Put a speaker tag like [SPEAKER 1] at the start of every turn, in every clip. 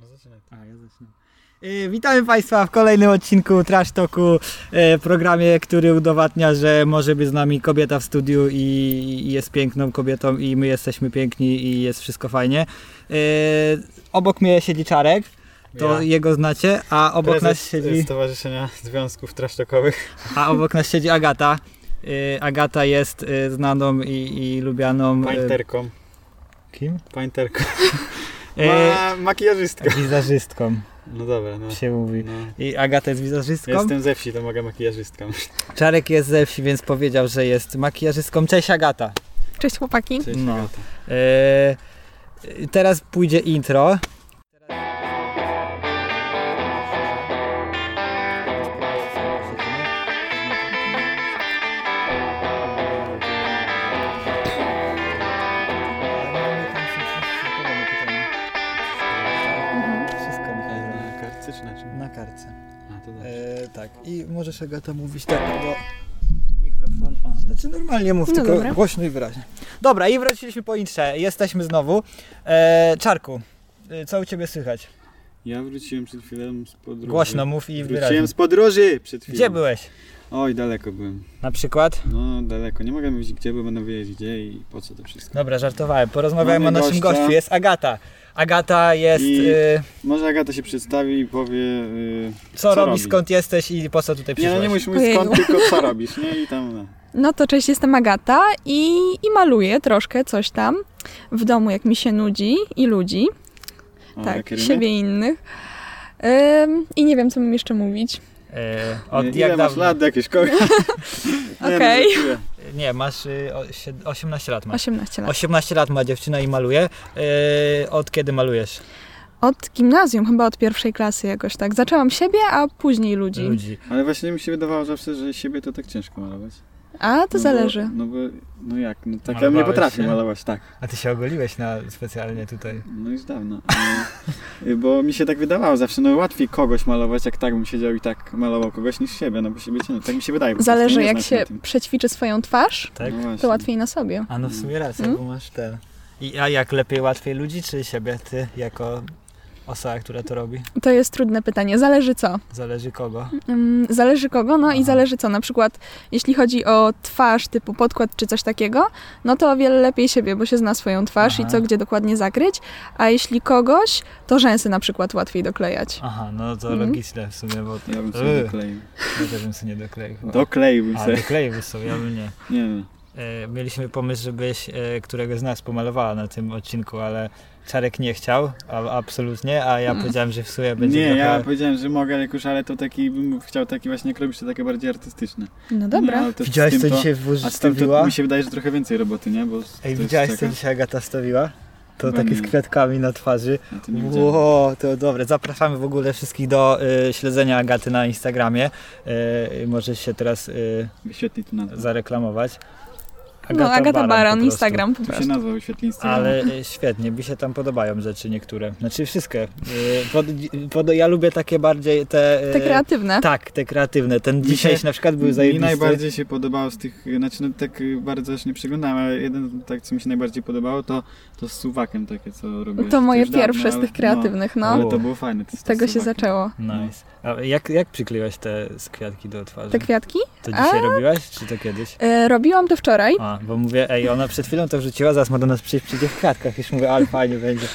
[SPEAKER 1] No zaczynaj.
[SPEAKER 2] A, ja zacznę. Y, Witamy Państwa w kolejnym odcinku Trash Talku, e, programie, który udowadnia, że może być z nami kobieta w studiu i, i jest piękną kobietą i my jesteśmy piękni i jest wszystko fajnie. E, Obok mnie siedzi Czarek, to
[SPEAKER 1] Ja.
[SPEAKER 2] jego znacie, a obok
[SPEAKER 1] Prezes
[SPEAKER 2] nas siedzi,
[SPEAKER 1] Stowarzyszenia Związków Trasztokowych.
[SPEAKER 2] a obok nas siedzi Agata. Y, Agata jest y, znaną i, i lubianą... y,
[SPEAKER 1] Painterką.
[SPEAKER 2] Kim?
[SPEAKER 1] Painterką.
[SPEAKER 2] Y,
[SPEAKER 1] Ma makijażystką.
[SPEAKER 2] Wizażystką
[SPEAKER 1] No dobra, no.
[SPEAKER 2] się mówi.
[SPEAKER 1] no.
[SPEAKER 2] I Agata jest wizażystką.
[SPEAKER 1] Jestem ze wsi, to mogę makijażystką.
[SPEAKER 2] Czarek jest ze wsi, więc powiedział, że jest makijażystką. Cześć Agata.
[SPEAKER 3] Cześć chłopaki.
[SPEAKER 1] Cześć,
[SPEAKER 2] No.
[SPEAKER 1] Agata.
[SPEAKER 2] Eee, teraz pójdzie intro. Wszystko Michał,
[SPEAKER 1] E, Na kartce czy na czym?
[SPEAKER 2] na kartce.
[SPEAKER 1] A, to dobrze.
[SPEAKER 2] E, tak, i możesz Agata mówić tak do mikrofon. O, znaczy normalnie mów,
[SPEAKER 3] No
[SPEAKER 2] tylko
[SPEAKER 3] dobra.
[SPEAKER 2] głośno i wyraźnie. Dobra, i wróciliśmy po intrze. Jesteśmy znowu. E, Czarku, e, co u Ciebie słychać?
[SPEAKER 1] Ja wróciłem przed chwilą z podróży.
[SPEAKER 2] Głośno mów i wyraźnie.
[SPEAKER 1] Wróciłem z podróży przed chwilą.
[SPEAKER 2] Gdzie byłeś?
[SPEAKER 1] Oj, daleko byłem.
[SPEAKER 2] Na przykład?
[SPEAKER 1] No, daleko. Nie mogę mówić gdzie, bo będę wiedzieć gdzie i po co to wszystko.
[SPEAKER 2] Dobra, żartowałem. Porozmawiajmy
[SPEAKER 1] Mamy
[SPEAKER 2] o naszym
[SPEAKER 1] gościa.
[SPEAKER 2] gościu. Jest Agata. Agata jest...
[SPEAKER 1] I-
[SPEAKER 2] e,
[SPEAKER 1] Może Agata się przedstawi i powie... y,
[SPEAKER 2] co
[SPEAKER 1] Co
[SPEAKER 2] robisz,
[SPEAKER 1] robi?
[SPEAKER 2] skąd jesteś i po co tutaj
[SPEAKER 1] Nie,
[SPEAKER 2] przyszłaś?
[SPEAKER 1] no nie musisz mówić skąd, tylko co robisz, nie? I tam... No.
[SPEAKER 3] No to cześć, jestem Agata i, i maluję troszkę coś tam w domu, jak mi się nudzi i ludzi,
[SPEAKER 1] O,
[SPEAKER 3] tak,
[SPEAKER 1] jakie
[SPEAKER 3] i
[SPEAKER 1] rymy?
[SPEAKER 3] siebie i innych. Ym, I nie wiem, co mam jeszcze mówić.
[SPEAKER 2] E, od
[SPEAKER 1] Ile
[SPEAKER 2] jak
[SPEAKER 1] masz
[SPEAKER 2] dawno?
[SPEAKER 1] lat jakieś kogoś? Nie,
[SPEAKER 3] Okej.
[SPEAKER 1] no, żartuję.
[SPEAKER 2] Nie, masz e, o, sied- 18
[SPEAKER 1] No.
[SPEAKER 2] lat masz.
[SPEAKER 3] 18 lat.
[SPEAKER 2] 18 lat ma dziewczyna i maluje. E, od kiedy malujesz
[SPEAKER 3] Od gimnazjum, chyba od pierwszej klasy jakoś tak. Zaczęłam siebie, a później ludzi.
[SPEAKER 2] ludzi?
[SPEAKER 1] Ale właśnie mi się wydawało zawsze, że siebie to tak ciężko malować.
[SPEAKER 3] A to
[SPEAKER 1] No
[SPEAKER 3] zależy.
[SPEAKER 1] Bo, no bo, no jak, no tak ja bym nie
[SPEAKER 2] Malowałeś
[SPEAKER 1] potrafię
[SPEAKER 2] się?
[SPEAKER 1] malować, tak.
[SPEAKER 2] A ty się ogoliłeś na specjalnie tutaj.
[SPEAKER 1] No już dawno. Y, bo mi się tak wydawało zawsze, no łatwiej kogoś malować, jak tak bym siedział i tak malował kogoś niż siebie, no bo siebie ciężko. Tak mi się wydaje. po prostu,
[SPEAKER 3] Zależy,
[SPEAKER 1] nie
[SPEAKER 3] jak
[SPEAKER 1] znam na
[SPEAKER 3] się
[SPEAKER 1] tym.
[SPEAKER 3] przećwiczy swoją twarz,
[SPEAKER 2] Tak?
[SPEAKER 1] No
[SPEAKER 3] to
[SPEAKER 1] właśnie.
[SPEAKER 3] łatwiej na sobie.
[SPEAKER 2] A no w sumie racja,
[SPEAKER 3] Mm.
[SPEAKER 1] Mhm.
[SPEAKER 2] bo masz ten. I, a jak lepiej, łatwiej ludzi czy siebie? Ty jako osoba, która to robi?
[SPEAKER 3] To jest trudne pytanie. Zależy co?
[SPEAKER 2] Zależy kogo.
[SPEAKER 3] Ym, Zależy kogo, no
[SPEAKER 2] Aha.
[SPEAKER 3] i zależy co. Na przykład, jeśli chodzi o twarz typu podkład czy coś takiego, no to o wiele lepiej siebie, bo się zna swoją twarz
[SPEAKER 2] Aha.
[SPEAKER 3] i co gdzie dokładnie zakryć. A jeśli kogoś, to rzęsy na przykład łatwiej doklejać.
[SPEAKER 2] Aha, no to
[SPEAKER 1] Mhm.
[SPEAKER 3] Mm.
[SPEAKER 2] logiczne w sumie, bo
[SPEAKER 1] Ja bym
[SPEAKER 2] Yy.
[SPEAKER 1] sobie dokleił.
[SPEAKER 2] ja też bym sobie nie dokleił. chyba.
[SPEAKER 1] Dokleiłbym
[SPEAKER 2] A,
[SPEAKER 1] sobie.
[SPEAKER 2] dokleiłbyś sobie, ja bym nie.
[SPEAKER 1] Nie wiem.
[SPEAKER 2] E, Mieliśmy pomysł, żebyś e, któregoś z nas pomalowała na tym odcinku, ale Czarek nie chciał, a, absolutnie, a ja powiedziałem, że w sumie będzie
[SPEAKER 1] Mhm. Nie,
[SPEAKER 2] trochę...
[SPEAKER 1] ja powiedziałem, że mogę, ale już, ale to taki bym chciał taki właśnie, jak robisz to takie bardziej artystyczne.
[SPEAKER 3] No dobra.
[SPEAKER 1] No, ale też z
[SPEAKER 2] Widziałeś,
[SPEAKER 1] tym
[SPEAKER 2] co
[SPEAKER 1] to-
[SPEAKER 2] dzisiaj w
[SPEAKER 1] A z tym to
[SPEAKER 2] stawiła?
[SPEAKER 1] mi się wydaje, że trochę więcej roboty, nie? Bo to
[SPEAKER 2] Ej,
[SPEAKER 1] jest
[SPEAKER 2] widziałeś, co
[SPEAKER 1] taka-
[SPEAKER 2] dzisiaj Agata stawiła? To
[SPEAKER 1] Chyba
[SPEAKER 2] takie
[SPEAKER 1] nie.
[SPEAKER 2] z kwiatkami na twarzy.
[SPEAKER 1] Ja to nie widziałem.
[SPEAKER 2] Ło, to dobre. Zapraszamy w ogóle wszystkich do y, śledzenia Agaty na Instagramie. Y, możesz się teraz y,
[SPEAKER 1] Wyświetli tu nazwę.
[SPEAKER 2] zareklamować.
[SPEAKER 3] no, Agata Baran,
[SPEAKER 2] po prostu.
[SPEAKER 3] Instagram po
[SPEAKER 1] Tu się
[SPEAKER 3] prostu.
[SPEAKER 1] nazwa wyświetli Instagram.
[SPEAKER 2] Ale y, świetnie, mi się tam podobają rzeczy niektóre. Znaczy wszystkie. Y, pod, pod, ja lubię takie bardziej te... y,
[SPEAKER 3] Te kreatywne.
[SPEAKER 2] Tak, te kreatywne. Ten
[SPEAKER 1] Mi się-
[SPEAKER 2] dzisiejszy na przykład był
[SPEAKER 1] Mi
[SPEAKER 2] zajebisty.
[SPEAKER 1] najbardziej się podobało z tych, znaczy no, tak y, bardzo aż nie przyglądałem, ale jeden tak, co mi się najbardziej podobało, to, to z suwakiem takie, co robiłeś.
[SPEAKER 3] To moje
[SPEAKER 1] już dawno,
[SPEAKER 3] pierwsze z
[SPEAKER 1] ale-
[SPEAKER 3] tych kreatywnych,
[SPEAKER 1] No,
[SPEAKER 3] no.
[SPEAKER 1] ale to było fajne. To,
[SPEAKER 3] Z tego się
[SPEAKER 1] suwakiem.
[SPEAKER 3] zaczęło.
[SPEAKER 2] Tak. Nice. A jak, jak przykleiłaś te z kwiatki do twarzy?
[SPEAKER 3] Te kwiatki?
[SPEAKER 2] To dzisiaj robiłaś, czy to kiedyś?
[SPEAKER 3] E, robiłam to wczoraj.
[SPEAKER 2] A, bo mówię, ej, ona przed chwilą to wrzuciła, zaraz ma do nas przyjść przy tych kratkach, już mówię, ale fajnie będzie.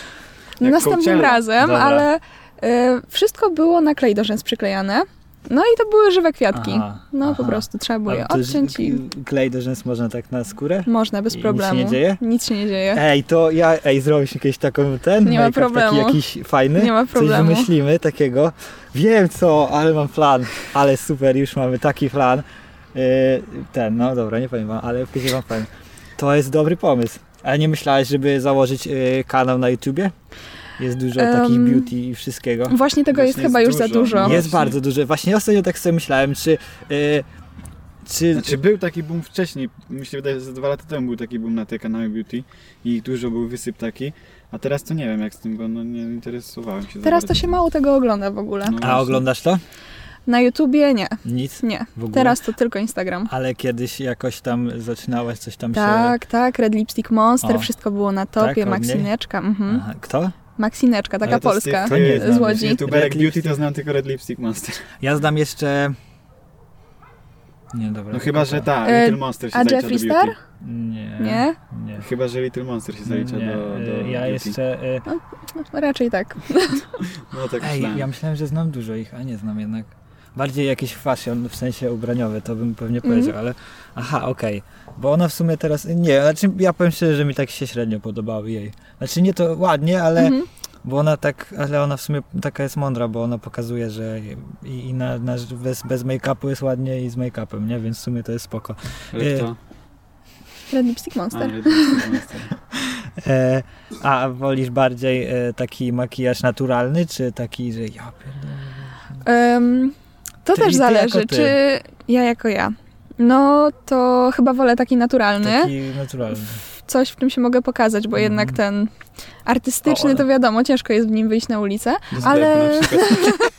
[SPEAKER 1] Jak
[SPEAKER 3] Następnym
[SPEAKER 1] Coachella.
[SPEAKER 3] razem,
[SPEAKER 2] Dobra.
[SPEAKER 3] ale e, wszystko było na klej do rzęs przyklejane. No i to były żywe kwiatki.
[SPEAKER 2] Aha,
[SPEAKER 3] No po
[SPEAKER 2] aha.
[SPEAKER 3] prostu trzeba było je
[SPEAKER 2] A to ż-
[SPEAKER 3] odciąć i
[SPEAKER 2] Klej do rzęs można tak na skórę?
[SPEAKER 3] można bez
[SPEAKER 2] I nic się
[SPEAKER 3] problemu.
[SPEAKER 2] nie dzieje?
[SPEAKER 3] Nic się nie dzieje.
[SPEAKER 2] Ej, to ja, ej, zrobisz jakiś taką, ten
[SPEAKER 3] Nie ma
[SPEAKER 2] make-up
[SPEAKER 3] problemu.
[SPEAKER 2] taki jakiś fajny?
[SPEAKER 3] Nie ma problemu.
[SPEAKER 2] Coś wymyślimy takiego. Wiem co, ale mam plan, ale super, już mamy taki plan. Yy, ten, no dobra, nie powiem wam, ale później wam powiem. To jest dobry pomysł. Ale nie myślałeś, żeby założyć yy, kanał na YouTubie? Jest dużo takich
[SPEAKER 3] Em,
[SPEAKER 2] beauty i wszystkiego.
[SPEAKER 3] Właśnie tego
[SPEAKER 1] Właśnie
[SPEAKER 3] jest chyba
[SPEAKER 1] jest
[SPEAKER 3] już za
[SPEAKER 1] dużo.
[SPEAKER 3] dużo.
[SPEAKER 1] No
[SPEAKER 2] Jest
[SPEAKER 1] właśnie.
[SPEAKER 2] bardzo duży. Właśnie ostatnio tak sobie myślałem, czy... y, czy
[SPEAKER 1] Znaczy był taki boom wcześniej, mi się wydaje, że ze dwa lata temu był taki boom na te kanały beauty i dużo był wysyp taki, a teraz to nie wiem jak z tym, bo no, nie interesowałem się za
[SPEAKER 3] Teraz to
[SPEAKER 1] bardzo.
[SPEAKER 3] się mało tego ogląda w ogóle.
[SPEAKER 1] No
[SPEAKER 2] A
[SPEAKER 1] właśnie.
[SPEAKER 2] oglądasz to?
[SPEAKER 3] Na YouTubie nie,
[SPEAKER 2] Nic
[SPEAKER 3] nie.
[SPEAKER 2] w ogóle?
[SPEAKER 3] Teraz to tylko Instagram.
[SPEAKER 2] Ale kiedyś jakoś tam zaczynałaś, coś tam się...
[SPEAKER 3] Tak, tak, Red Lipstick Monster,
[SPEAKER 2] O.
[SPEAKER 3] wszystko było na topie,
[SPEAKER 2] Tak, od niej?
[SPEAKER 3] Maksineczka. Mhm.
[SPEAKER 2] Aha, kto?
[SPEAKER 3] Maksineczka, taka
[SPEAKER 2] Ale to z tych-
[SPEAKER 3] polska
[SPEAKER 2] to nie znam.
[SPEAKER 3] z Łodzi.
[SPEAKER 1] YouTuberek
[SPEAKER 2] Red
[SPEAKER 1] Beauty to znam tylko Red Lipstick Monster.
[SPEAKER 2] Ja zdam jeszcze... Nie, dobra.
[SPEAKER 1] No chyba, że ta,
[SPEAKER 3] E,
[SPEAKER 1] Little Monster się
[SPEAKER 3] a
[SPEAKER 1] zalicza
[SPEAKER 3] Jeffree
[SPEAKER 1] do Beauty.
[SPEAKER 2] Nie.
[SPEAKER 3] Nie?
[SPEAKER 2] Nie.
[SPEAKER 1] Chyba, że Little Monster się zalicza
[SPEAKER 2] Nie,
[SPEAKER 1] do,
[SPEAKER 2] y,
[SPEAKER 1] do
[SPEAKER 2] Ja
[SPEAKER 1] Beauty.
[SPEAKER 2] jeszcze... y,
[SPEAKER 3] No, Raczej tak.
[SPEAKER 1] No tak
[SPEAKER 2] Ej,
[SPEAKER 1] myślałem.
[SPEAKER 2] ja myślałem, że znam dużo ich, a nie znam jednak. Bardziej jakiś fashion, w sensie ubraniowy, to bym pewnie
[SPEAKER 3] Mhm.
[SPEAKER 2] powiedział, ale aha, okej. Bo ona w sumie teraz, nie, znaczy ja powiem szczerze, że mi tak się średnio podobały jej. Znaczy nie to ładnie, ale,
[SPEAKER 3] Mhm.
[SPEAKER 2] bo ona tak, ale ona w sumie taka jest mądra, bo ona pokazuje, że i, i na, na, bez, bez make-upu jest ładnie i z make-upem, nie? Więc w sumie to jest spoko. e,
[SPEAKER 1] Ale kto?
[SPEAKER 3] Red Lipstick
[SPEAKER 1] A,
[SPEAKER 3] Monster.
[SPEAKER 1] Red Lipstick Monster.
[SPEAKER 2] E, a wolisz bardziej e, taki makijaż naturalny, czy taki, że ja pierdolę.
[SPEAKER 3] Ym, to
[SPEAKER 2] Ty-
[SPEAKER 3] też
[SPEAKER 2] ty
[SPEAKER 3] zależy,
[SPEAKER 2] jako ty.
[SPEAKER 3] czy ja jako ja. No to chyba wolę taki naturalny,
[SPEAKER 2] Taki naturalny.
[SPEAKER 3] coś w czym się mogę pokazać, bo
[SPEAKER 2] Mhm.
[SPEAKER 3] jednak ten artystyczny
[SPEAKER 2] O, ale-
[SPEAKER 3] to wiadomo, ciężko jest w nim wyjść na ulicę.
[SPEAKER 1] Do sklepu
[SPEAKER 3] Ale-
[SPEAKER 1] na przykład.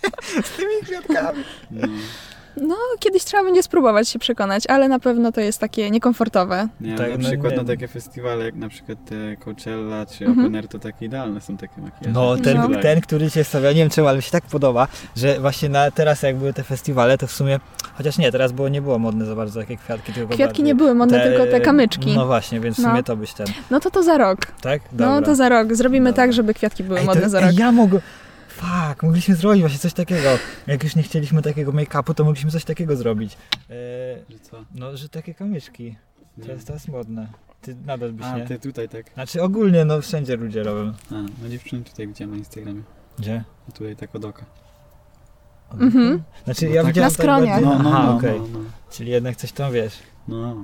[SPEAKER 2] Z tymi kwiatkami.
[SPEAKER 1] No,
[SPEAKER 3] No, kiedyś trzeba będzie spróbować się przekonać, ale na pewno to jest takie niekomfortowe.
[SPEAKER 1] nie,
[SPEAKER 2] Tak,
[SPEAKER 1] na
[SPEAKER 2] no
[SPEAKER 1] przykład
[SPEAKER 2] nie.
[SPEAKER 1] na takie festiwale jak na przykład te Coachella czy
[SPEAKER 3] Mhm.
[SPEAKER 1] Open Air to takie idealne są takie makijaże.
[SPEAKER 2] No, ten,
[SPEAKER 1] Tak.
[SPEAKER 2] ten, który się stawia, nie wiem czemu, ale mi się tak podoba, że właśnie na, teraz jak były te festiwale, to w sumie, chociaż nie, teraz było, nie było modne za bardzo takie kwiatki, tylko
[SPEAKER 3] Kwiatki
[SPEAKER 2] bardziej
[SPEAKER 3] nie były modne,
[SPEAKER 2] te-
[SPEAKER 3] tylko te kamyczki.
[SPEAKER 2] No
[SPEAKER 3] No,
[SPEAKER 2] właśnie, więc w
[SPEAKER 3] No.
[SPEAKER 2] sumie to byś ten,
[SPEAKER 3] to to za rok.
[SPEAKER 2] tak? Dobra.
[SPEAKER 3] No to za rok. Zrobimy
[SPEAKER 2] Dobra.
[SPEAKER 3] tak, żeby kwiatki były
[SPEAKER 2] Ej, to-
[SPEAKER 3] modne za rok.
[SPEAKER 2] Ej, ja mogę... Fuck, mogliśmy zrobić właśnie coś takiego. Jak już nie chcieliśmy takiego make-upu, to mogliśmy coś takiego zrobić. E,
[SPEAKER 1] Że co?
[SPEAKER 2] no, że takie kamyczki.
[SPEAKER 1] Nie.
[SPEAKER 2] To jest teraz modne. Ty nadal byś
[SPEAKER 1] A,
[SPEAKER 2] nie...
[SPEAKER 1] ty tutaj tak.
[SPEAKER 2] Znaczy ogólnie, no wszędzie ludzie robią.
[SPEAKER 1] A, no dziewczyny tutaj widziałem na Instagramie.
[SPEAKER 2] Gdzie?
[SPEAKER 1] A Tutaj tak od oka.
[SPEAKER 3] Mhm.
[SPEAKER 2] Znaczy
[SPEAKER 1] No
[SPEAKER 2] ja
[SPEAKER 1] tak.
[SPEAKER 2] widziałem
[SPEAKER 3] Na
[SPEAKER 2] tak
[SPEAKER 3] skroniach.
[SPEAKER 2] bardziej-
[SPEAKER 1] No, no,
[SPEAKER 2] Aha,
[SPEAKER 1] no,
[SPEAKER 2] okej.
[SPEAKER 1] no, no.
[SPEAKER 2] Czyli jednak coś tam wiesz.
[SPEAKER 1] No,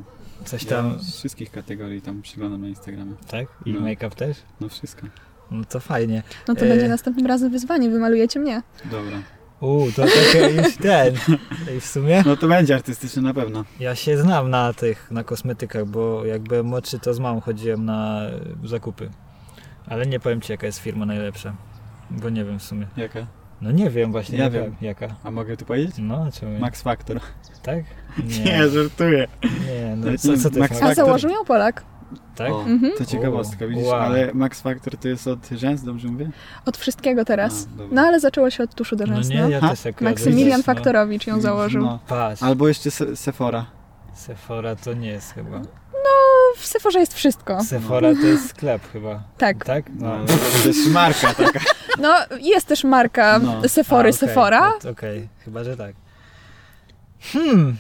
[SPEAKER 2] Coś
[SPEAKER 1] ja
[SPEAKER 2] tam,
[SPEAKER 1] z wszystkich kategorii tam przyglądam na Instagramie.
[SPEAKER 2] tak? I
[SPEAKER 1] No.
[SPEAKER 2] make-up też?
[SPEAKER 1] No wszystko.
[SPEAKER 2] No to fajnie.
[SPEAKER 3] No to
[SPEAKER 2] e-
[SPEAKER 3] będzie następnym razem wyzwanie, wymalujecie mnie.
[SPEAKER 1] Dobra.
[SPEAKER 2] U, to takie już ten. I w sumie
[SPEAKER 1] No to będzie artystyczne na pewno.
[SPEAKER 2] ja się znam na tych, na kosmetykach, bo jak byłem młodszy, to z mamą chodziłem na y, zakupy. Ale nie powiem ci, jaka jest firma najlepsza. Bo nie wiem w sumie.
[SPEAKER 1] Jaka?
[SPEAKER 2] No nie wiem właśnie.
[SPEAKER 1] Ja
[SPEAKER 2] jaka,
[SPEAKER 1] wiem.
[SPEAKER 2] Jaka.
[SPEAKER 1] A mogę tu powiedzieć?
[SPEAKER 2] No, czemu
[SPEAKER 1] Max Factor.
[SPEAKER 2] Tak?
[SPEAKER 1] Nie, żartuję.
[SPEAKER 2] nie, no
[SPEAKER 1] Ale
[SPEAKER 2] co, co ty
[SPEAKER 1] Max
[SPEAKER 2] Max
[SPEAKER 3] A
[SPEAKER 1] Tak, to-
[SPEAKER 3] założył ją Polak.
[SPEAKER 2] Tak?
[SPEAKER 1] O,
[SPEAKER 3] Mhm.
[SPEAKER 1] To ciekawostka,
[SPEAKER 2] O,
[SPEAKER 1] widzisz?
[SPEAKER 2] wow.
[SPEAKER 1] Ale Max Factor to jest od rzęs, dobrze mówię?
[SPEAKER 3] Od wszystkiego teraz.
[SPEAKER 1] A, dobra.
[SPEAKER 3] No ale zaczęło się od tuszu do
[SPEAKER 2] No
[SPEAKER 3] rzęs,
[SPEAKER 2] nie, ja
[SPEAKER 1] Ha?
[SPEAKER 2] też akurat
[SPEAKER 3] Maksymilian
[SPEAKER 2] widzisz, no.
[SPEAKER 3] Faktorowicz ją założył. No.
[SPEAKER 1] No.
[SPEAKER 2] Patrz,
[SPEAKER 1] Albo jeszcze se Sephora.
[SPEAKER 2] Sephora to nie jest chyba.
[SPEAKER 3] W Sephorze jest wszystko.
[SPEAKER 2] Sephora to jest sklep chyba.
[SPEAKER 3] No. Tak.
[SPEAKER 2] Tak?
[SPEAKER 1] No, no, to jest marka taka.
[SPEAKER 3] No jest też marka
[SPEAKER 1] No.
[SPEAKER 2] A,
[SPEAKER 3] Sephory,
[SPEAKER 2] okej,
[SPEAKER 3] Sephora.
[SPEAKER 2] no to Okej, chyba, że tak. Hmm.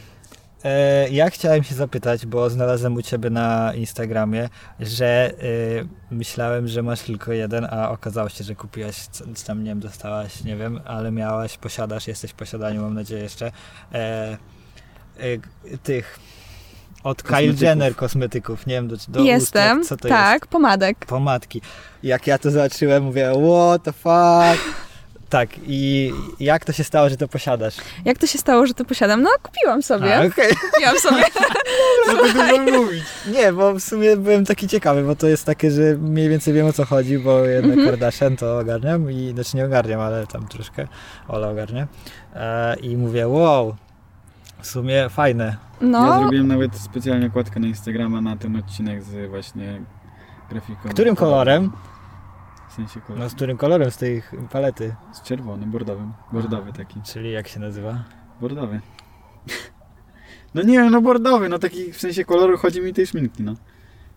[SPEAKER 2] E, ja chciałem się zapytać, bo znalazłem u ciebie na Instagramie, że e, myślałem, że masz tylko jeden, a okazało się, że kupiłaś, co- czy tam nie wiem, dostałaś, nie wiem, ale miałaś, posiadasz, jesteś w posiadaniu, mam nadzieję jeszcze, e, e, g- tych od Kylie
[SPEAKER 1] Kosmetyków.
[SPEAKER 2] Jenner kosmetyków, nie wiem, do, do
[SPEAKER 3] Jestem,
[SPEAKER 2] ust, jak, co to jest?
[SPEAKER 3] tak, pomadek.
[SPEAKER 2] pomadki. Jak ja to zobaczyłem, mówię, what the fuck. Tak, i jak to się stało, że to posiadasz?
[SPEAKER 3] Jak to się stało, że to posiadam? No kupiłam sobie.
[SPEAKER 2] A, okej.
[SPEAKER 3] Kupiłam sobie.
[SPEAKER 1] Co by dużo mówić?
[SPEAKER 2] Nie, bo w sumie byłem taki ciekawy, bo to jest takie, że mniej więcej wiem o co chodzi, bo jednak Kardashian to ogarniam i, znaczy nie ogarniam, ale tam troszkę Ola ogarnia. E, I mówię, wow, w sumie fajne.
[SPEAKER 3] No,
[SPEAKER 1] Ja zrobiłem nawet specjalnie okładkę na Instagrama na ten odcinek z właśnie grafiką.
[SPEAKER 2] Którym kolorem?
[SPEAKER 1] W sensie kolorem.
[SPEAKER 2] No z którym kolorem z tej palety?
[SPEAKER 1] Z czerwonym, bordowym. Bordowy taki.
[SPEAKER 2] Czyli jak się nazywa?
[SPEAKER 1] Bordowy. No nie wiem, no bordowy, no taki w sensie koloru chodzi mi tej szminki, no.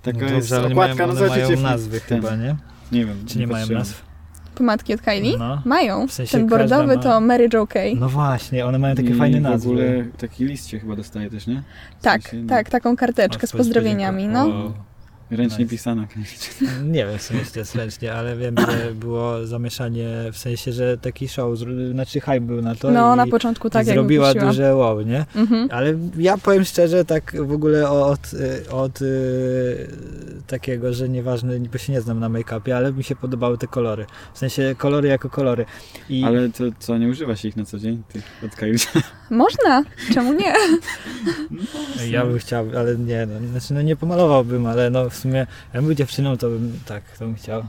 [SPEAKER 1] Taka
[SPEAKER 2] dobrze,
[SPEAKER 1] jest
[SPEAKER 2] ale
[SPEAKER 1] okładka,
[SPEAKER 2] mają,
[SPEAKER 1] no
[SPEAKER 2] one mają
[SPEAKER 1] zobaczycie. w-
[SPEAKER 2] nazwy
[SPEAKER 1] ten.
[SPEAKER 2] chyba, nie?
[SPEAKER 1] Nie wiem.
[SPEAKER 2] Czy nie mają
[SPEAKER 1] patrzyłem.
[SPEAKER 2] nazw?
[SPEAKER 3] pomadki od Kylie?
[SPEAKER 2] No.
[SPEAKER 3] Mają.
[SPEAKER 2] W sensie
[SPEAKER 3] Ten
[SPEAKER 2] każda
[SPEAKER 3] bordowy
[SPEAKER 2] ma-
[SPEAKER 3] to Mary Jo Kay.
[SPEAKER 2] No właśnie, one mają takie
[SPEAKER 1] I
[SPEAKER 2] fajne
[SPEAKER 1] w
[SPEAKER 2] nazwy.
[SPEAKER 1] ogóle taki list się chyba dostaje też, nie?
[SPEAKER 3] tak,
[SPEAKER 1] sensie, no.
[SPEAKER 3] tak, taką karteczkę z pozdrowieniami, no.
[SPEAKER 1] O. Ręcznie
[SPEAKER 2] Nice.
[SPEAKER 1] pisana.
[SPEAKER 2] Nie wiem w sumie, czy to jest ręcznie, ale wiem, że było zamieszanie, w sensie, że taki show, zro- znaczy hype był na to
[SPEAKER 3] No,
[SPEAKER 2] i,
[SPEAKER 3] na początku tak
[SPEAKER 2] i
[SPEAKER 3] jak
[SPEAKER 2] zrobiła
[SPEAKER 3] wypuściła.
[SPEAKER 2] duże wow, nie?
[SPEAKER 3] Mhm.
[SPEAKER 2] Ale ja powiem szczerze, tak w ogóle o- od, y, od y, takiego, że nieważne, bo się nie znam na make-upie, ale mi się podobały te kolory. W sensie kolory jako kolory. I
[SPEAKER 1] Ale to co, nie używa się ich na co dzień? Tych od Kylie.
[SPEAKER 3] Można, czemu nie?
[SPEAKER 2] ja bym chciał, ale nie, no, znaczy no nie pomalowałbym, ale no w sumie ja był dziewczyną, to bym tak, to bym chciał.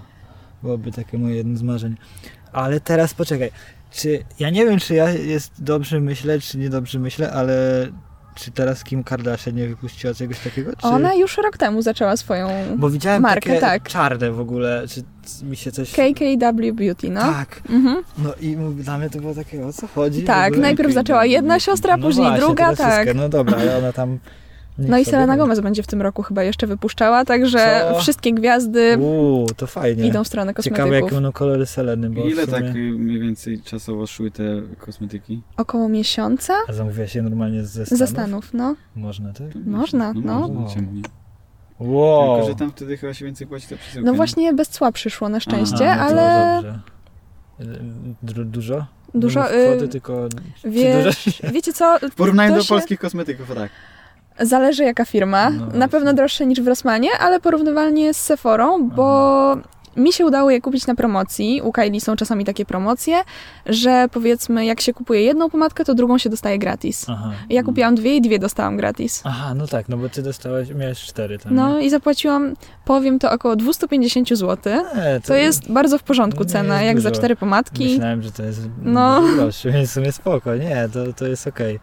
[SPEAKER 2] Byłoby takie moje jedno z marzeń. Ale teraz poczekaj, czy ja nie wiem, czy ja jest dobrze myślę, czy niedobrze myślę, ale Czy teraz Kim Kardashian nie wypuściła czegoś takiego? Czy...
[SPEAKER 3] Ona już rok temu zaczęła swoją
[SPEAKER 2] Bo widziałem
[SPEAKER 3] Markę,
[SPEAKER 2] takie
[SPEAKER 3] tak.
[SPEAKER 2] czarne w ogóle, czy c- mi się coś...
[SPEAKER 3] KKW Beauty, no.
[SPEAKER 2] Tak,
[SPEAKER 3] Mhm.
[SPEAKER 2] no i mówię, dla mnie to było takie, o co chodzi? w
[SPEAKER 3] Tak,
[SPEAKER 2] ogóle?
[SPEAKER 3] najpierw zaczęła jedna siostra,
[SPEAKER 2] No
[SPEAKER 3] później
[SPEAKER 2] właśnie,
[SPEAKER 3] druga,
[SPEAKER 2] teraz
[SPEAKER 3] tak.
[SPEAKER 2] wszystkie. No dobra, ale ona tam... niech
[SPEAKER 3] No i
[SPEAKER 2] sobie
[SPEAKER 3] Selena
[SPEAKER 2] tam-
[SPEAKER 3] Gomez będzie w tym roku chyba jeszcze wypuszczała, także
[SPEAKER 2] Co?
[SPEAKER 3] wszystkie gwiazdy
[SPEAKER 2] Uuu, to fajnie.
[SPEAKER 3] idą w stronę
[SPEAKER 2] Ciekawe,
[SPEAKER 3] kosmetyków.
[SPEAKER 2] jakie będą kolory Seleny, bo
[SPEAKER 1] Ile
[SPEAKER 2] w sumie...
[SPEAKER 1] tak y, mniej więcej czasowo szły te kosmetyki?
[SPEAKER 3] Około miesiąca
[SPEAKER 2] A zamówiłaś je normalnie ze Stanów?
[SPEAKER 3] ze Stanów, no.
[SPEAKER 2] Można, tak?
[SPEAKER 3] Można, no.
[SPEAKER 1] Można, czemu nie?
[SPEAKER 2] Wow.
[SPEAKER 1] Tylko, że tam wtedy chyba się więcej płaci za przesyłkę.
[SPEAKER 3] No
[SPEAKER 1] nie?
[SPEAKER 3] właśnie bez cła przyszło na szczęście,
[SPEAKER 2] Aha, no to
[SPEAKER 3] ale
[SPEAKER 2] dobrze. Du- dużo?
[SPEAKER 3] dużo...
[SPEAKER 2] Nie mów
[SPEAKER 3] y,
[SPEAKER 2] Kwoty, tylko... czy
[SPEAKER 3] wie, wiecie co,
[SPEAKER 1] W porównaniu
[SPEAKER 3] To
[SPEAKER 1] do
[SPEAKER 3] się-
[SPEAKER 1] polskich kosmetyków, o tak.
[SPEAKER 3] zależy jaka firma.
[SPEAKER 2] No
[SPEAKER 3] na
[SPEAKER 2] właśnie.
[SPEAKER 3] pewno droższe niż w Rossmanie, ale porównywalnie z Sephorą, bo mi się udało je kupić na promocji. U Kylie są czasami takie promocje, że powiedzmy jak się kupuje jedną pomadkę, to drugą się dostaje gratis.
[SPEAKER 2] Aha.
[SPEAKER 3] Ja kupiłam dwie i dwie dostałam gratis.
[SPEAKER 2] Aha, no tak, no bo ty dostałaś, miałeś cztery tam.
[SPEAKER 3] No i zapłaciłam, powiem to, około 250 zł.
[SPEAKER 2] E,
[SPEAKER 3] To jest bardzo w porządku
[SPEAKER 2] nie
[SPEAKER 3] cena,
[SPEAKER 2] jest
[SPEAKER 3] jak za
[SPEAKER 2] dużo.
[SPEAKER 3] cztery pomadki.
[SPEAKER 2] Myślałem, że to jest
[SPEAKER 3] No.
[SPEAKER 2] no. droższy, więc w sumie spoko. Nie, to, to jest okej.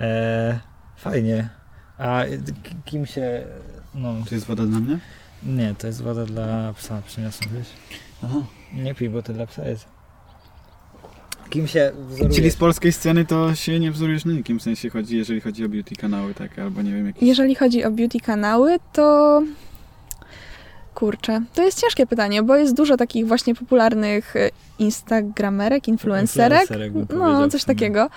[SPEAKER 2] E, Fajnie. A k- kim się... No,
[SPEAKER 1] To jest woda dla mnie?
[SPEAKER 2] nie, to jest woda dla psa, przyniosłem, wiesz?
[SPEAKER 1] Aha.
[SPEAKER 2] Nie pij, bo to dla psa jest. Kim się wzorujesz?
[SPEAKER 1] Czyli z polskiej sceny to się nie wzorujesz na nikim, w sensie chodzi, jeżeli chodzi o beauty kanały, tak, albo nie wiem, jakieś...
[SPEAKER 3] Jeżeli chodzi o beauty kanały, to. Kurczę, to jest ciężkie pytanie, bo jest dużo takich właśnie popularnych e, instagramerek, influencerek,
[SPEAKER 2] Influencerek bym
[SPEAKER 3] no
[SPEAKER 2] powiedział w
[SPEAKER 3] coś
[SPEAKER 2] sumie.
[SPEAKER 3] takiego,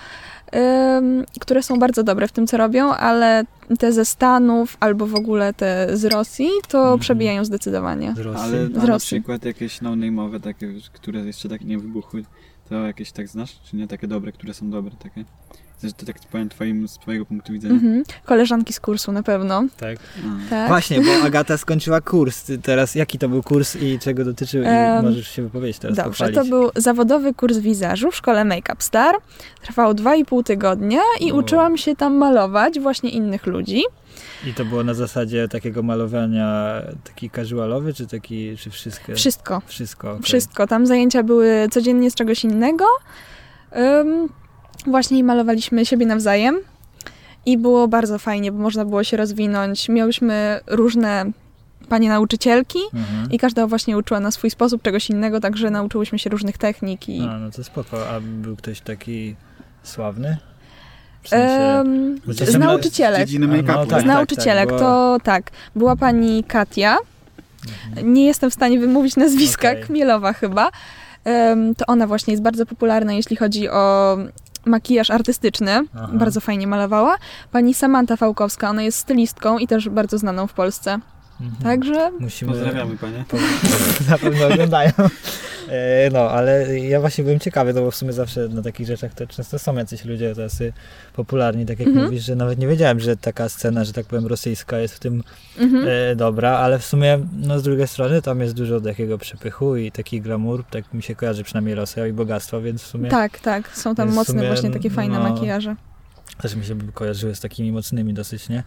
[SPEAKER 3] ym, które są bardzo dobre w tym, co robią, ale te ze Stanów albo w ogóle te z Rosji, to
[SPEAKER 2] Mhm.
[SPEAKER 3] przebijają zdecydowanie.
[SPEAKER 2] Z Rosji?
[SPEAKER 1] Ale
[SPEAKER 3] Z
[SPEAKER 1] a na
[SPEAKER 3] Rosji.
[SPEAKER 1] przykład jakieś no-name'owe, takie, które jeszcze tak nie wybuchły, to jakieś tak znasz, czy nie? Takie dobre, które są dobre, takie? Znaczy, to tak powiem twoim, z twojego punktu widzenia.
[SPEAKER 3] Mhm. Koleżanki z kursu na pewno.
[SPEAKER 2] Tak.
[SPEAKER 1] A.
[SPEAKER 3] Tak.
[SPEAKER 2] Właśnie, bo Agata skończyła kurs. Ty Teraz jaki to był kurs i czego dotyczył? I
[SPEAKER 3] Em,
[SPEAKER 2] możesz się wypowiedzieć teraz.
[SPEAKER 3] Dobrze,
[SPEAKER 2] pochwalić.
[SPEAKER 3] to był zawodowy kurs wizażu w szkole Make Up Star. Trwał 2,5 tygodnia i
[SPEAKER 2] Wow.
[SPEAKER 3] uczyłam się tam malować właśnie innych ludzi.
[SPEAKER 2] I to było na zasadzie takiego malowania taki casualowy, czy taki, czy wszystkie?
[SPEAKER 3] Wszystko,
[SPEAKER 2] Wszystko. okej.
[SPEAKER 3] wszystko. Tam zajęcia były codziennie z czegoś innego. Ym, właśnie i malowaliśmy siebie nawzajem i było bardzo fajnie, bo można było się rozwinąć. Miałyśmy różne panie nauczycielki
[SPEAKER 2] Mhm.
[SPEAKER 3] i każda właśnie uczyła na swój sposób czegoś innego, także nauczyłyśmy się różnych technik i...
[SPEAKER 2] A, no to spoko. A był ktoś taki sławny? W sensie...
[SPEAKER 3] Ym,
[SPEAKER 2] Bo
[SPEAKER 3] z
[SPEAKER 2] czasem na-
[SPEAKER 3] nauczycielek.
[SPEAKER 1] Z dziedziny
[SPEAKER 2] A, no
[SPEAKER 1] make-upu.
[SPEAKER 2] tak.
[SPEAKER 3] z nauczycielek
[SPEAKER 2] bo-
[SPEAKER 3] to tak, była pani Katia, nie jestem w stanie wymówić nazwiska,
[SPEAKER 2] Mhm. Okej.
[SPEAKER 3] Kmielowa chyba, Em, to ona właśnie jest bardzo popularna, jeśli chodzi o makijaż artystyczny,
[SPEAKER 2] Aha.
[SPEAKER 3] bardzo fajnie malowała. Pani Samanta Fałkowska, ona jest stylistką i też bardzo znaną w Polsce,
[SPEAKER 2] Mhm.
[SPEAKER 3] także
[SPEAKER 2] Musimy...
[SPEAKER 1] Pozdrawiamy, panie.
[SPEAKER 2] na pewno oglądają. E, No, ale ja właśnie byłem ciekawy, no bo w sumie zawsze na takich rzeczach to często są jacyś ludzie tacy popularni, tak jak
[SPEAKER 3] Mhm.
[SPEAKER 2] mówisz, że nawet nie wiedziałem, że taka scena, że tak powiem, rosyjska jest w tym
[SPEAKER 3] mhm.
[SPEAKER 2] e, dobra, ale w sumie, no z drugiej strony tam jest dużo takiego przepychu i taki glamour, tak mi się kojarzy przynajmniej Rosja i bogactwo, więc w sumie
[SPEAKER 3] tak, tak, są tam
[SPEAKER 2] Więc w
[SPEAKER 3] mocne
[SPEAKER 2] sumie,
[SPEAKER 3] właśnie takie fajne
[SPEAKER 2] no,
[SPEAKER 3] makijaże.
[SPEAKER 2] też mi się by kojarzyły z takimi mocnymi dosyć, nie?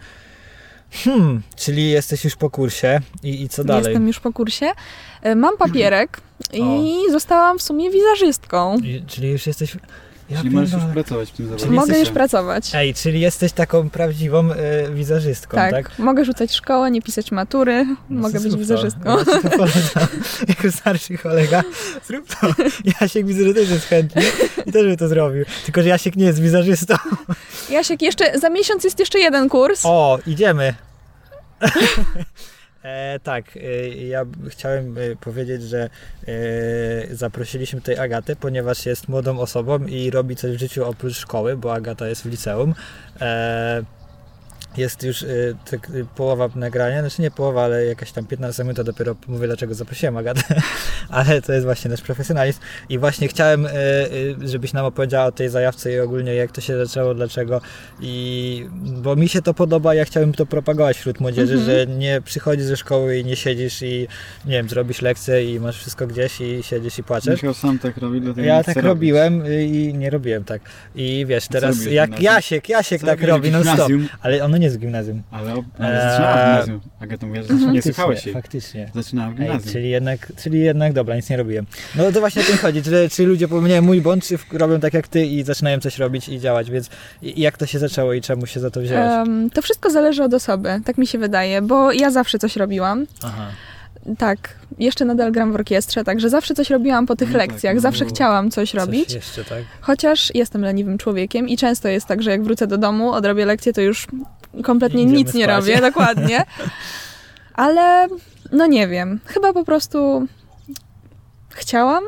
[SPEAKER 2] Hmm, czyli jesteś już po kursie i, i co dalej?
[SPEAKER 3] Jestem już po kursie. E, Mam papierek i zostałam w sumie wizażystką.
[SPEAKER 2] I, czyli już jesteś... Ja
[SPEAKER 1] Czyli możesz już
[SPEAKER 2] pierdolę.
[SPEAKER 1] pracować w tym zawodzie.
[SPEAKER 2] Czyli
[SPEAKER 3] Mogę już
[SPEAKER 2] jesteś-
[SPEAKER 3] pracować.
[SPEAKER 2] Ej, czyli jesteś taką prawdziwą y, wizerzystką, tak?
[SPEAKER 3] mogę rzucać szkołę, nie pisać matury,
[SPEAKER 2] No
[SPEAKER 3] mogę
[SPEAKER 2] to
[SPEAKER 3] być
[SPEAKER 2] zrób to.
[SPEAKER 3] wizerzystką.
[SPEAKER 2] Ja ci to polecam. jako starszy kolega, zrób to. Jasiek widzę, że też jest chętny i też by to zrobił. Tylko, że Jasiek nie jest wizerzystą.
[SPEAKER 3] Jasiek, jeszcze, za miesiąc jest jeszcze jeden kurs.
[SPEAKER 2] O, idziemy. E, tak, e, ja b- chciałem e, powiedzieć, że e, zaprosiliśmy tutaj Agatę, ponieważ jest młodą osobą i robi coś w życiu oprócz szkoły, bo Agata jest w liceum. E, jest już e, tak, e, połowa nagrania, znaczy nie połowa, ale jakaś tam 15 minut, to dopiero mówię dlaczego zaprosiłem Agatę, ale to jest właśnie nasz profesjonalizm i właśnie chciałem, e, e, żebyś nam opowiedziała o tej zajawce i ogólnie jak to się zaczęło, dlaczego i bo mi się to podoba, ja chciałbym to propagować wśród młodzieży,
[SPEAKER 3] Mhm.
[SPEAKER 2] że nie przychodzisz ze szkoły i nie siedzisz i nie wiem, zrobisz lekcje i masz wszystko gdzieś i siedzisz i płaczesz.
[SPEAKER 1] Michał sam tak robi, dlatego
[SPEAKER 2] Ja
[SPEAKER 1] nie chcę
[SPEAKER 2] tak
[SPEAKER 1] robić.
[SPEAKER 2] robiłem i nie robiłem tak. I wiesz, teraz
[SPEAKER 1] robiłeś w
[SPEAKER 2] jak
[SPEAKER 1] gimnazjum?
[SPEAKER 2] Jasiek, Jasiek
[SPEAKER 1] Co
[SPEAKER 2] tak
[SPEAKER 1] robiłeś w
[SPEAKER 2] robi non stop.
[SPEAKER 1] gimnazjum?
[SPEAKER 2] Ale ono nie nie z gimnazjum.
[SPEAKER 1] Ale, ale
[SPEAKER 2] Eee. Mhm.
[SPEAKER 1] zaczynała w gimnazjum. Agata mówiła, że zaczyna, nie słuchałeś jej.
[SPEAKER 2] Faktycznie.
[SPEAKER 1] Zaczynała w
[SPEAKER 2] Ej,
[SPEAKER 1] gimnazjum.
[SPEAKER 2] czyli jednak, czyli jednak, dobra, nic nie robiłem. No to właśnie o tym chodzi, czy, czy ludzie popełniają mój błąd, czy w- robią tak jak ty i zaczynają coś robić i działać, więc i- jak to się zaczęło i czemu się za to wziąłeś?
[SPEAKER 3] Em, to wszystko zależy od osoby, tak mi się wydaje, bo ja zawsze coś robiłam.
[SPEAKER 2] Aha.
[SPEAKER 3] Tak, jeszcze nadal gram w orkiestrze, także zawsze coś robiłam po tych
[SPEAKER 1] No tak,
[SPEAKER 3] lekcjach,
[SPEAKER 1] no.
[SPEAKER 3] zawsze chciałam coś
[SPEAKER 2] Coś
[SPEAKER 3] robić.
[SPEAKER 2] jeszcze, tak?
[SPEAKER 3] Chociaż jestem leniwym człowiekiem i często jest tak, że jak wrócę do domu, odrobię lekcję, to już kompletnie
[SPEAKER 2] Idziemy
[SPEAKER 3] nic nie
[SPEAKER 2] spać.
[SPEAKER 3] robię, dokładnie. Ale no nie wiem, chyba po prostu chciałam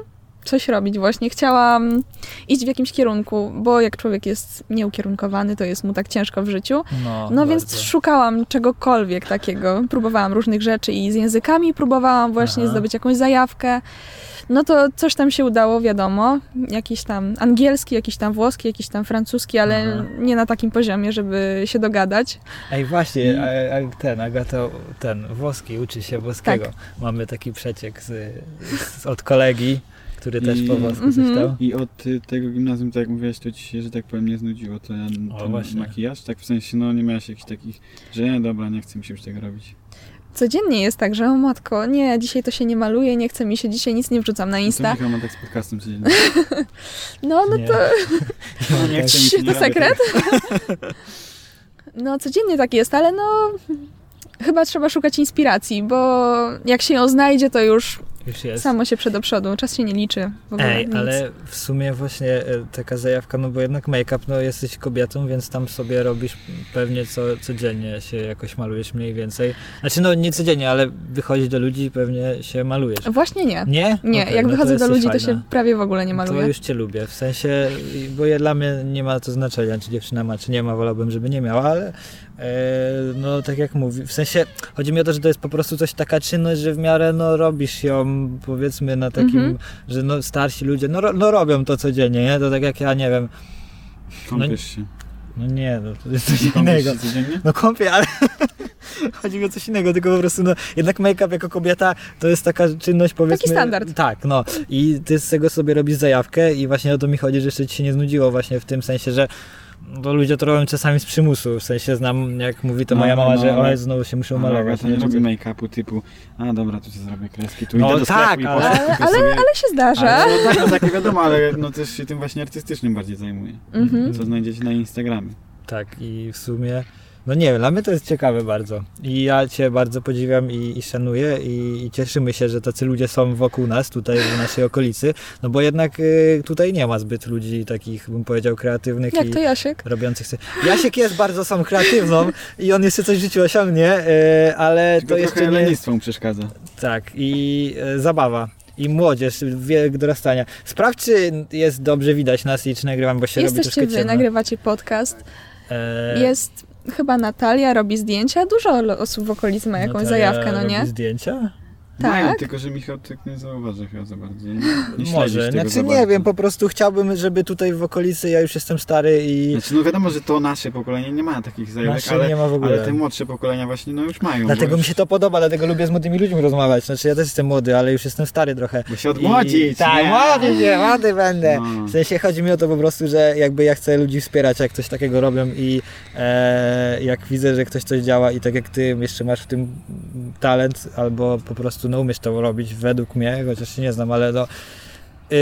[SPEAKER 3] coś robić właśnie, chciałam iść w jakimś kierunku, bo jak człowiek jest nieukierunkowany, to jest mu tak ciężko w życiu.
[SPEAKER 2] No,
[SPEAKER 3] No więc
[SPEAKER 2] bardzo.
[SPEAKER 3] szukałam czegokolwiek takiego. Próbowałam różnych rzeczy i z językami próbowałam właśnie
[SPEAKER 2] Aha.
[SPEAKER 3] zdobyć jakąś zajawkę. No to coś tam się udało, wiadomo. Jakiś tam angielski, jakiś tam włoski, jakiś tam francuski, ale
[SPEAKER 2] Aha.
[SPEAKER 3] nie na takim poziomie, żeby się dogadać.
[SPEAKER 2] Ej,
[SPEAKER 3] Mm.
[SPEAKER 2] właśnie, a, a ten, Agata, ten, włoski, uczy się włoskiego.
[SPEAKER 3] Tak.
[SPEAKER 2] Mamy taki przeciek z, z, od kolegi, który też
[SPEAKER 1] I-
[SPEAKER 2] po włosku coś
[SPEAKER 3] Mhm.
[SPEAKER 2] tam.
[SPEAKER 1] I od y, tego gimnazjum, tak jak mówiłaś, to ci się, że tak powiem, nie znudziło ten,
[SPEAKER 2] O,
[SPEAKER 1] ten
[SPEAKER 2] właśnie.
[SPEAKER 1] makijaż? Tak w sensie, no nie miałaś jakichś takich, że nie, dobra, nie chcę mi się już tego robić.
[SPEAKER 3] Codziennie jest tak, że o matko, nie, dzisiaj to się nie maluje, nie chce mi się, dzisiaj nic nie wrzucam na
[SPEAKER 1] To
[SPEAKER 3] Insta.
[SPEAKER 1] Michał ma tak z podcastem codziennie.
[SPEAKER 3] No, no
[SPEAKER 2] Nie.
[SPEAKER 3] to
[SPEAKER 1] No, nie chcę mi się,
[SPEAKER 3] To
[SPEAKER 1] nie robię
[SPEAKER 3] sekret? No, codziennie tak jest, ale no. Chyba trzeba szukać inspiracji, bo jak się ją znajdzie, to już
[SPEAKER 2] Już jest.
[SPEAKER 3] samo się przed do przodu. Czas się nie liczy. W ogóle
[SPEAKER 2] Ej,
[SPEAKER 3] nic.
[SPEAKER 2] ale w sumie właśnie e, taka zajawka, no bo jednak make-up, no jesteś kobietą, więc tam sobie robisz pewnie co, codziennie się jakoś malujesz mniej więcej. Znaczy no nie codziennie, ale wychodzisz do ludzi i pewnie się malujesz.
[SPEAKER 3] Właśnie nie.
[SPEAKER 2] Nie?
[SPEAKER 3] Nie,
[SPEAKER 2] Okej,
[SPEAKER 3] jak
[SPEAKER 2] no to
[SPEAKER 3] wychodzę do
[SPEAKER 2] jesteś
[SPEAKER 3] ludzi, to
[SPEAKER 2] fajna.
[SPEAKER 3] się prawie w ogóle nie maluję.
[SPEAKER 2] To już cię lubię, w sensie, i- bo ja, dla mnie nie ma to znaczenia, czy dziewczyna ma, czy nie ma, wolałbym, żeby nie miała, ale e, no tak jak mówi, w sensie chodzi mi o to, że to jest po prostu coś taka czynność, że w miarę no robisz ją powiedzmy na takim,
[SPEAKER 3] Mhm.
[SPEAKER 2] że no starsi ludzie, no, ro- no robią to codziennie, nie? To tak jak ja, nie wiem,
[SPEAKER 1] tego. Kąpiesz się.
[SPEAKER 2] no nie, no to jest coś
[SPEAKER 1] Kąpiesz
[SPEAKER 2] innego.
[SPEAKER 1] się codziennie?
[SPEAKER 2] No kąpię, ale chodzi mi o coś innego, tylko po prostu no, jednak make-up jako kobieta to jest taka czynność powiedzmy...
[SPEAKER 3] standard.
[SPEAKER 2] Tak, no i ty z tego sobie robisz zajawkę i właśnie o to mi chodzi, że jeszcze ci się nie znudziło właśnie w tym sensie, że no, ludzie to robią czasami z przymusu, w sensie znam, jak mówi to
[SPEAKER 1] No,
[SPEAKER 2] moja
[SPEAKER 1] no,
[SPEAKER 2] mama,
[SPEAKER 1] no,
[SPEAKER 2] że
[SPEAKER 1] no.
[SPEAKER 2] o, znowu się muszą
[SPEAKER 1] Dobra,
[SPEAKER 2] malować.
[SPEAKER 1] to nie
[SPEAKER 2] nie?
[SPEAKER 1] robię make-upu typu, a dobra, tu się zrobię kreski, tu
[SPEAKER 2] No
[SPEAKER 1] idę do sklepu
[SPEAKER 2] tak,
[SPEAKER 1] i
[SPEAKER 2] ale-
[SPEAKER 1] poszedł,
[SPEAKER 3] ale-
[SPEAKER 1] tylko sobie...
[SPEAKER 3] Ale się zdarza.
[SPEAKER 1] Ale, no, tak, no, tak, nie wiadomo, ale no też się tym właśnie artystycznym bardziej zajmuję.
[SPEAKER 3] Mhm.
[SPEAKER 1] Co znajdziecie na Instagramie.
[SPEAKER 2] Tak i w sumie, no nie wiem, dla mnie to jest ciekawe bardzo i ja cię bardzo podziwiam i, i szanuję i, i cieszymy się, że tacy ludzie są wokół nas, tutaj w naszej okolicy, no bo jednak y, tutaj nie ma zbyt ludzi takich, bym powiedział, kreatywnych
[SPEAKER 3] Jak
[SPEAKER 2] i
[SPEAKER 3] to Jasiek?
[SPEAKER 2] robiących sobie. Jasiek jest bardzo sam kreatywną i on jeszcze coś w życiu osiągnie, y, ale
[SPEAKER 1] Tylko
[SPEAKER 2] to jeszcze
[SPEAKER 1] trochę
[SPEAKER 2] nie
[SPEAKER 1] lenistwo mu przeszkadza.
[SPEAKER 2] tak, i e, zabawa. I młodzież, wiek dorastania. Sprawdź, czy jest dobrze widać nas i czy nagrywam, bo się robi
[SPEAKER 3] Jesteście
[SPEAKER 2] troszkę
[SPEAKER 3] wy,
[SPEAKER 2] ciemno.
[SPEAKER 3] nagrywacie podcast.
[SPEAKER 2] E,
[SPEAKER 3] Jest chyba Natalia, robi zdjęcia. Dużo lo- osób w okolicy ma jakąś
[SPEAKER 2] Natalia
[SPEAKER 3] zajawkę, no
[SPEAKER 2] robi
[SPEAKER 3] nie?
[SPEAKER 2] zdjęcia?
[SPEAKER 3] Tak.
[SPEAKER 1] Mają, tylko że Michał tak nie zauważy chyba za bardzo. Nie, nie śledzisz
[SPEAKER 2] Może,
[SPEAKER 1] tego
[SPEAKER 2] znaczy
[SPEAKER 1] za
[SPEAKER 2] nie
[SPEAKER 1] bardzo.
[SPEAKER 2] wiem, po prostu chciałbym, żeby tutaj w okolicy, ja już jestem stary i
[SPEAKER 1] Znaczy, no wiadomo, że to nasze pokolenie nie ma takich zajawek,
[SPEAKER 2] nasze
[SPEAKER 1] ale,
[SPEAKER 2] nie ma w
[SPEAKER 1] ale
[SPEAKER 2] ogóle.
[SPEAKER 1] te młodsze pokolenia właśnie no już mają. bo
[SPEAKER 2] Dlatego mi
[SPEAKER 1] już,
[SPEAKER 2] się to podoba, dlatego lubię z młodymi ludźmi rozmawiać. Znaczy ja też jestem młody, ale już jestem stary trochę.
[SPEAKER 1] Bo się odmłodzić,
[SPEAKER 2] I, tak,
[SPEAKER 1] nie?
[SPEAKER 2] młody się, młody będę.
[SPEAKER 1] No.
[SPEAKER 2] W sensie chodzi mi o to po prostu, że jakby ja chcę ludzi wspierać, jak coś takiego robią i e, jak widzę, że ktoś coś działa i tak jak ty jeszcze masz w tym talent, albo po prostu no umiesz to robić według mnie, chociaż się nie znam, ale no y,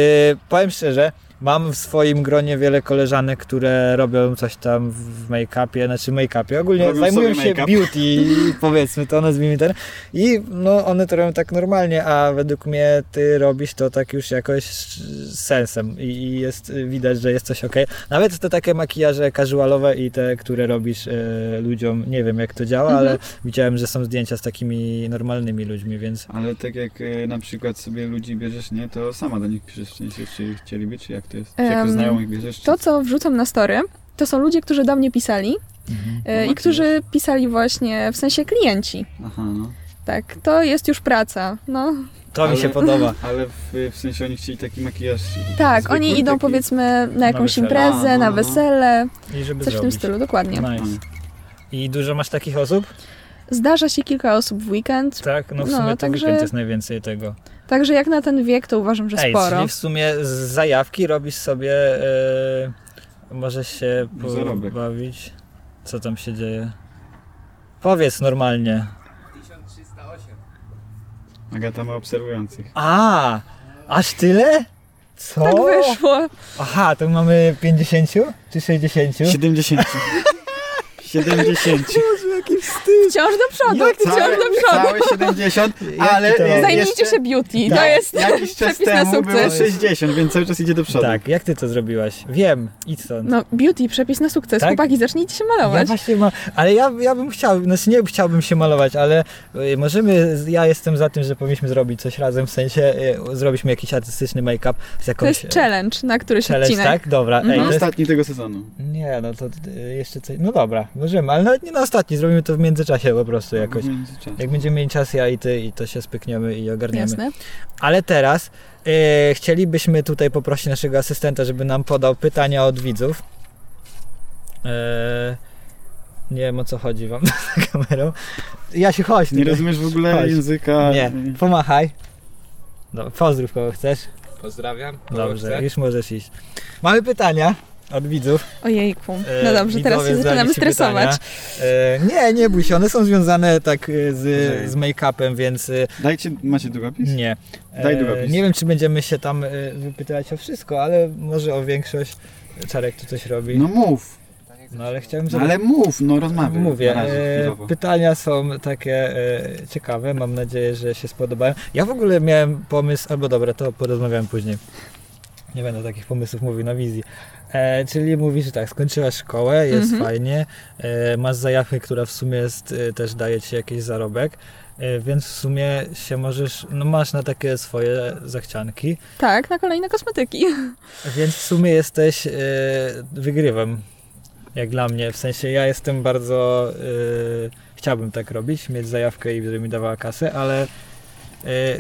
[SPEAKER 2] powiem szczerze, mam w swoim gronie wiele koleżanek, które robią coś tam w make-upie, znaczy make-upie, ogólnie
[SPEAKER 1] Robią
[SPEAKER 2] zajmują
[SPEAKER 1] sobie
[SPEAKER 2] się
[SPEAKER 1] make-up.
[SPEAKER 2] beauty, powiedzmy to, nazwijmy ten i no one to robią tak normalnie, a według mnie ty robisz to tak już jakoś z sensem i, i jest y, widać, że jest coś okej. Nawet te takie makijaże casualowe i te, które robisz y, ludziom, nie wiem jak to działa,
[SPEAKER 3] Mhm.
[SPEAKER 2] ale widziałem, że są zdjęcia z takimi normalnymi ludźmi, więc
[SPEAKER 1] Ale tak jak e, na przykład sobie ludzi bierzesz, nie, to sama do nich piszesz, w sensie, czy chcieliby, czy jak to jest? Czy jako
[SPEAKER 3] Em,
[SPEAKER 1] znajomych bierzesz? Czy...
[SPEAKER 3] To, co wrzucam na story, to są ludzie, którzy do mnie pisali e, i
[SPEAKER 1] No właśnie.
[SPEAKER 3] którzy pisali właśnie w sensie klienci.
[SPEAKER 1] Aha, no.
[SPEAKER 3] Tak, to jest już praca. No
[SPEAKER 2] to mi się
[SPEAKER 1] Ale-
[SPEAKER 2] podoba.
[SPEAKER 1] Ale w, w sensie oni chcieli taki makijaż.
[SPEAKER 3] tak,
[SPEAKER 1] zwykły,
[SPEAKER 3] oni idą
[SPEAKER 1] taki-
[SPEAKER 3] powiedzmy na jakąś
[SPEAKER 2] wesele.
[SPEAKER 3] imprezę,
[SPEAKER 1] A, no,
[SPEAKER 3] na
[SPEAKER 1] no.
[SPEAKER 3] wesele,
[SPEAKER 2] I żeby
[SPEAKER 3] coś w tym
[SPEAKER 2] zrobić. No.
[SPEAKER 3] stylu, dokładnie.
[SPEAKER 2] Nice. I dużo masz takich osób?
[SPEAKER 3] Zdarza się kilka osób w weekend,
[SPEAKER 2] Tak, no w
[SPEAKER 3] No,
[SPEAKER 2] sumie to
[SPEAKER 3] także-
[SPEAKER 2] weekend jest najwięcej tego.
[SPEAKER 3] także jak na ten wiek to uważam, że
[SPEAKER 2] Ej,
[SPEAKER 3] sporo.
[SPEAKER 2] czyli w sumie z zajawki robisz sobie, e, możesz się
[SPEAKER 1] Zarobek.
[SPEAKER 2] pobawić, co tam się dzieje. Powiedz normalnie.
[SPEAKER 1] Agata ma obserwujących.
[SPEAKER 2] A, aż tyle? Co?
[SPEAKER 3] Tak wyszło.
[SPEAKER 2] Aha, to mamy 50 czy 60?
[SPEAKER 1] 70. 70.
[SPEAKER 3] Wciąż do przodu, wciąż do przodu.
[SPEAKER 1] Całe 70, ale
[SPEAKER 2] to?
[SPEAKER 1] e,
[SPEAKER 3] Zajmijcie
[SPEAKER 1] jeszcze
[SPEAKER 3] się beauty, to
[SPEAKER 1] tak,
[SPEAKER 3] jest
[SPEAKER 1] jakiś czas
[SPEAKER 3] przepis na
[SPEAKER 1] temu było
[SPEAKER 3] sukces.
[SPEAKER 1] 60, więc cały czas idzie do przodu.
[SPEAKER 2] Tak, jak ty to zrobiłaś? Wiem, idź stąd.
[SPEAKER 3] No beauty, przepis na sukces.
[SPEAKER 2] Tak?
[SPEAKER 3] Chłopaki, zacznijcie się
[SPEAKER 2] Ja
[SPEAKER 3] malować.
[SPEAKER 2] właśnie ma, ale ja, ja bym chciał, znaczy nie chciałbym się malować, ale y, możemy, ja jestem za tym, że powinniśmy zrobić coś razem, w sensie y, zrobiliśmy jakiś artystyczny make-up z
[SPEAKER 3] To
[SPEAKER 2] jakąś...
[SPEAKER 3] jest challenge na któryś
[SPEAKER 2] challenge,
[SPEAKER 3] odcinek. Mhm.
[SPEAKER 2] tak? Dobra,
[SPEAKER 1] No,
[SPEAKER 2] ej, to jest
[SPEAKER 1] ostatni tego sezonu.
[SPEAKER 2] Nie, no to y, jeszcze coś. No dobra, możemy, ale nawet nie na ostatni, zrobimy to w międzyczasie po prostu jakoś.
[SPEAKER 1] W międzyczasie.
[SPEAKER 2] Jak będziemy mieli czas ja i ty i to się spykniemy i ogarniemy.
[SPEAKER 3] Jasne.
[SPEAKER 2] Ale teraz y, chcielibyśmy tutaj poprosić naszego asystenta, żeby nam podał pytania od widzów. E, nie wiem o co chodzi wam za kamerą. Ja się chodź.
[SPEAKER 1] Nie
[SPEAKER 2] tutaj.
[SPEAKER 1] rozumiesz w ogóle
[SPEAKER 2] Chodź.
[SPEAKER 1] języka.
[SPEAKER 2] Nie, pomachaj. No, pozdrów kogo chcesz.
[SPEAKER 4] Pozdrawiam. kogo
[SPEAKER 2] Dobrze,
[SPEAKER 4] chce.
[SPEAKER 2] już możesz iść. Mamy pytania od widzów.
[SPEAKER 3] Ojejku.
[SPEAKER 2] E,
[SPEAKER 3] No dobrze, teraz
[SPEAKER 2] widzowie
[SPEAKER 3] się zaczynamy
[SPEAKER 2] zadali ci
[SPEAKER 3] stresować.
[SPEAKER 2] pytania. E, nie, nie bój się, one są związane tak e, z,
[SPEAKER 1] Dobrze.
[SPEAKER 2] z make-upem, więc e,
[SPEAKER 1] Dajcie, macie długopis?
[SPEAKER 2] nie. E,
[SPEAKER 1] Daj długopis.
[SPEAKER 2] nie wiem, czy będziemy się tam e, wypytywać o wszystko, ale może o większość. Czarek tu coś robi.
[SPEAKER 1] No mów,
[SPEAKER 2] No ale chciałem
[SPEAKER 1] no,
[SPEAKER 2] żeby-
[SPEAKER 1] ale mów, no rozmawiaj.
[SPEAKER 2] Mówię,
[SPEAKER 1] na razie,
[SPEAKER 2] e,
[SPEAKER 1] chwilowo.
[SPEAKER 2] pytania są takie e, ciekawe, mam nadzieję, że się spodobają. Ja w ogóle miałem pomysł, albo dobra, to porozmawiam później. Nie będę takich pomysłów mówił na wizji. E, czyli mówisz tak, skończyłaś szkołę, jest
[SPEAKER 3] Mhm.
[SPEAKER 2] fajnie, e, masz zajawkę, która w sumie jest, e, też daje ci jakiś zarobek, e, więc w sumie się możesz, no masz na takie swoje zachcianki,
[SPEAKER 3] Tak, na kolejne kosmetyki.
[SPEAKER 2] więc w sumie jesteś e, wygrywem, jak dla mnie. W sensie ja jestem bardzo. E, chciałbym tak robić, mieć zajawkę i żeby mi dawała kasę, ale e,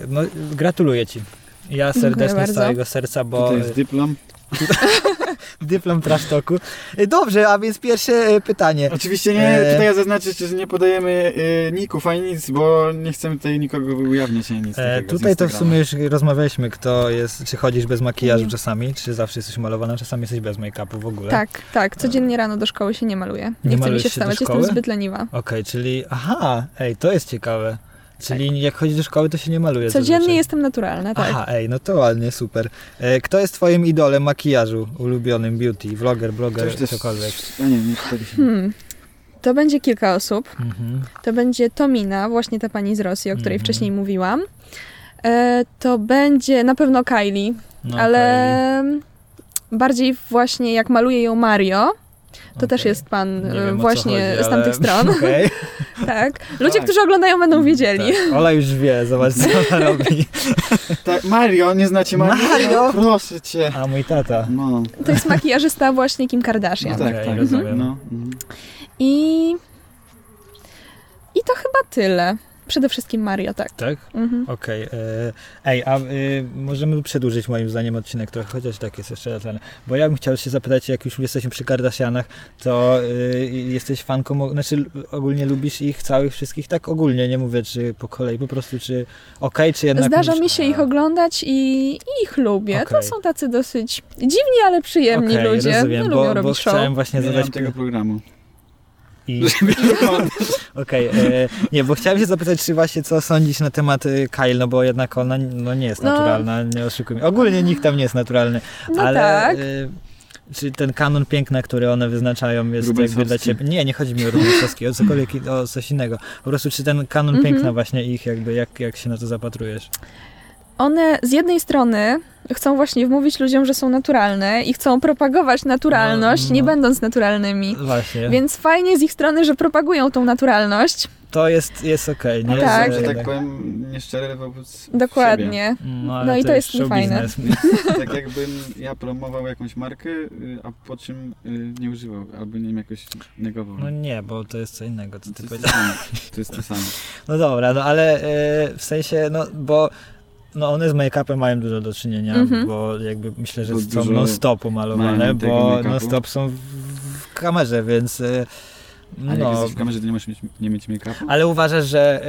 [SPEAKER 2] no, gratuluję ci. Ja
[SPEAKER 3] Dziękuję
[SPEAKER 2] serdecznie z
[SPEAKER 3] bardzo.
[SPEAKER 2] całego serca, bo
[SPEAKER 1] Tutaj jest dyplom.
[SPEAKER 2] dyplom trash talku. E, Dobrze, a więc pierwsze e, pytanie.
[SPEAKER 1] Oczywiście nie,
[SPEAKER 2] E,
[SPEAKER 1] tutaj ja zaznaczę, że nie podajemy e, ników ani nic, bo nie chcemy tutaj nikogo ujawniać ani nic.
[SPEAKER 2] E,
[SPEAKER 1] takiego z
[SPEAKER 2] tutaj to w
[SPEAKER 1] Instagrama.
[SPEAKER 2] słumie już rozmawialiśmy, kto jest, czy chodzisz bez makijażu czasami, czy zawsze jesteś malowana, czasami jesteś bez make-upu w ogóle.
[SPEAKER 3] Mhm. Tak, tak. Codziennie rano do szkoły się nie maluję. Nie, chcę mi
[SPEAKER 2] malujesz
[SPEAKER 3] się
[SPEAKER 2] się do
[SPEAKER 3] wstawać, jestem
[SPEAKER 2] szkoły?
[SPEAKER 3] zbyt leniwa.
[SPEAKER 2] Okej, czyli aha, ej, to jest ciekawe. Czyli jak chodzisz do szkoły, to się nie maluje.
[SPEAKER 3] Tak. Codziennie jestem naturalna, tak.
[SPEAKER 2] Aha, ej, no to ładnie, super. E, kto jest twoim idolem makijażu ulubionym beauty? Vloger,
[SPEAKER 1] To już
[SPEAKER 2] bloger,
[SPEAKER 1] też-
[SPEAKER 2] cokolwiek.
[SPEAKER 1] A nie, nie czytaliśmy.
[SPEAKER 3] Hmm. To będzie kilka osób.
[SPEAKER 2] Mhm.
[SPEAKER 3] To będzie Tomina, właśnie ta pani z Rosji, o której
[SPEAKER 2] Mhm.
[SPEAKER 3] wcześniej mówiłam. E, to będzie na pewno Kylie,
[SPEAKER 2] No, okej.
[SPEAKER 3] ale mm, bardziej właśnie jak maluje ją Mario. To też
[SPEAKER 2] Okej.
[SPEAKER 3] jest pan
[SPEAKER 2] Nie
[SPEAKER 3] e,
[SPEAKER 2] wiem, o co
[SPEAKER 3] właśnie
[SPEAKER 2] chodzi,
[SPEAKER 3] z tamtych
[SPEAKER 2] ale-
[SPEAKER 3] stron.
[SPEAKER 2] Okej.
[SPEAKER 3] tak. Ludzie,
[SPEAKER 1] Tak.
[SPEAKER 3] którzy oglądają, będą wiedzieli.
[SPEAKER 2] Tak. Ola już wie, zobacz co ona robi.
[SPEAKER 1] Tak, Mario, nie znacie Mario? No,
[SPEAKER 2] Mario?
[SPEAKER 1] Proszę cię.
[SPEAKER 2] A mój tata.
[SPEAKER 1] No,
[SPEAKER 3] To jest makijażysta właśnie Kim Kardashian.
[SPEAKER 1] no
[SPEAKER 2] Okej,
[SPEAKER 1] tak, tak.
[SPEAKER 2] rozumiem.
[SPEAKER 1] No, mhm.
[SPEAKER 3] I. I to chyba tyle. Przede wszystkim Mario, tak.
[SPEAKER 2] Tak?
[SPEAKER 3] Mhm.
[SPEAKER 2] Okej. e, Ej, a e, możemy przedłużyć moim zdaniem odcinek trochę, chociaż tak jest jeszcze ten. Bo ja bym chciał się zapytać, jak już jesteśmy przy Kardashianach, to e, jesteś fanką, o- znaczy l- ogólnie lubisz ich całych wszystkich? Tak ogólnie, nie mówię czy po kolei, po prostu czy okej, czy jednak...
[SPEAKER 3] Zdarza
[SPEAKER 2] mówisz-
[SPEAKER 3] mi się ich oglądać i, i ich lubię.
[SPEAKER 2] Okej.
[SPEAKER 3] To są tacy dosyć dziwni, ale przyjemni
[SPEAKER 2] Okej,
[SPEAKER 3] ludzie.
[SPEAKER 2] rozumiem,
[SPEAKER 3] nie
[SPEAKER 2] bo,
[SPEAKER 3] lubią
[SPEAKER 2] bo
[SPEAKER 3] robić show.
[SPEAKER 2] chciałem właśnie
[SPEAKER 1] nie
[SPEAKER 2] zadać...
[SPEAKER 1] zadać tego programu.
[SPEAKER 2] I... Okej, e, nie, bo chciałem się zapytać, czy właśnie co sądzisz na temat e, Kyle, no bo jednak ona no, nie jest
[SPEAKER 3] No.
[SPEAKER 2] naturalna, nie oszukujmy. Ogólnie nikt tam nie jest naturalny.
[SPEAKER 3] No
[SPEAKER 2] ale
[SPEAKER 3] tak.
[SPEAKER 2] y, czy ten kanon piękna, który one wyznaczają, jest jakby dla
[SPEAKER 1] Rubensowski.
[SPEAKER 2] ciebie. Nie, nie chodzi mi o Rubensowski, o cokolwiek i- o coś innego. Po prostu czy ten kanon
[SPEAKER 3] Mhm.
[SPEAKER 2] piękna właśnie ich jakby jak, jak się na to zapatrujesz?
[SPEAKER 3] One z jednej strony chcą właśnie wmówić ludziom, że są naturalne i chcą propagować naturalność,
[SPEAKER 2] No, no.
[SPEAKER 3] nie będąc naturalnymi.
[SPEAKER 2] Właśnie.
[SPEAKER 3] Więc fajnie z ich strony, że propagują tą naturalność.
[SPEAKER 2] To jest, jest okej, nie?
[SPEAKER 1] Ale
[SPEAKER 3] Tak.
[SPEAKER 1] tak. że tak
[SPEAKER 2] jednak-
[SPEAKER 1] powiem, nieszczere wobec siebie.
[SPEAKER 3] Dokładnie.
[SPEAKER 2] No,
[SPEAKER 3] No
[SPEAKER 2] ale
[SPEAKER 3] i to
[SPEAKER 2] jest
[SPEAKER 3] jest niefajne.
[SPEAKER 2] showbiznes.
[SPEAKER 1] Tak jakbym ja promował jakąś markę, y, a po czym y, nie używał, albo nie wiem, jakoś negował.
[SPEAKER 2] No nie, bo to jest co innego, co
[SPEAKER 1] to,
[SPEAKER 2] ty
[SPEAKER 1] jest
[SPEAKER 2] powiedziałeś.
[SPEAKER 1] to samo. to jest to samo.
[SPEAKER 2] No dobra, no ale e, w sensie, no bo no one z make-upem mają dużo do czynienia,
[SPEAKER 3] Mhm.
[SPEAKER 2] bo jakby myślę, że
[SPEAKER 1] Bo
[SPEAKER 2] są
[SPEAKER 1] dużo
[SPEAKER 2] non-stopu malowane,
[SPEAKER 1] mają tego
[SPEAKER 2] bo
[SPEAKER 1] make-upu.
[SPEAKER 2] non-stop są w, w kamerze, więc e,
[SPEAKER 1] Ale jak jesteś w kamerze, to nie możesz mieć, nie mieć make-upu?
[SPEAKER 2] Ale uważasz, że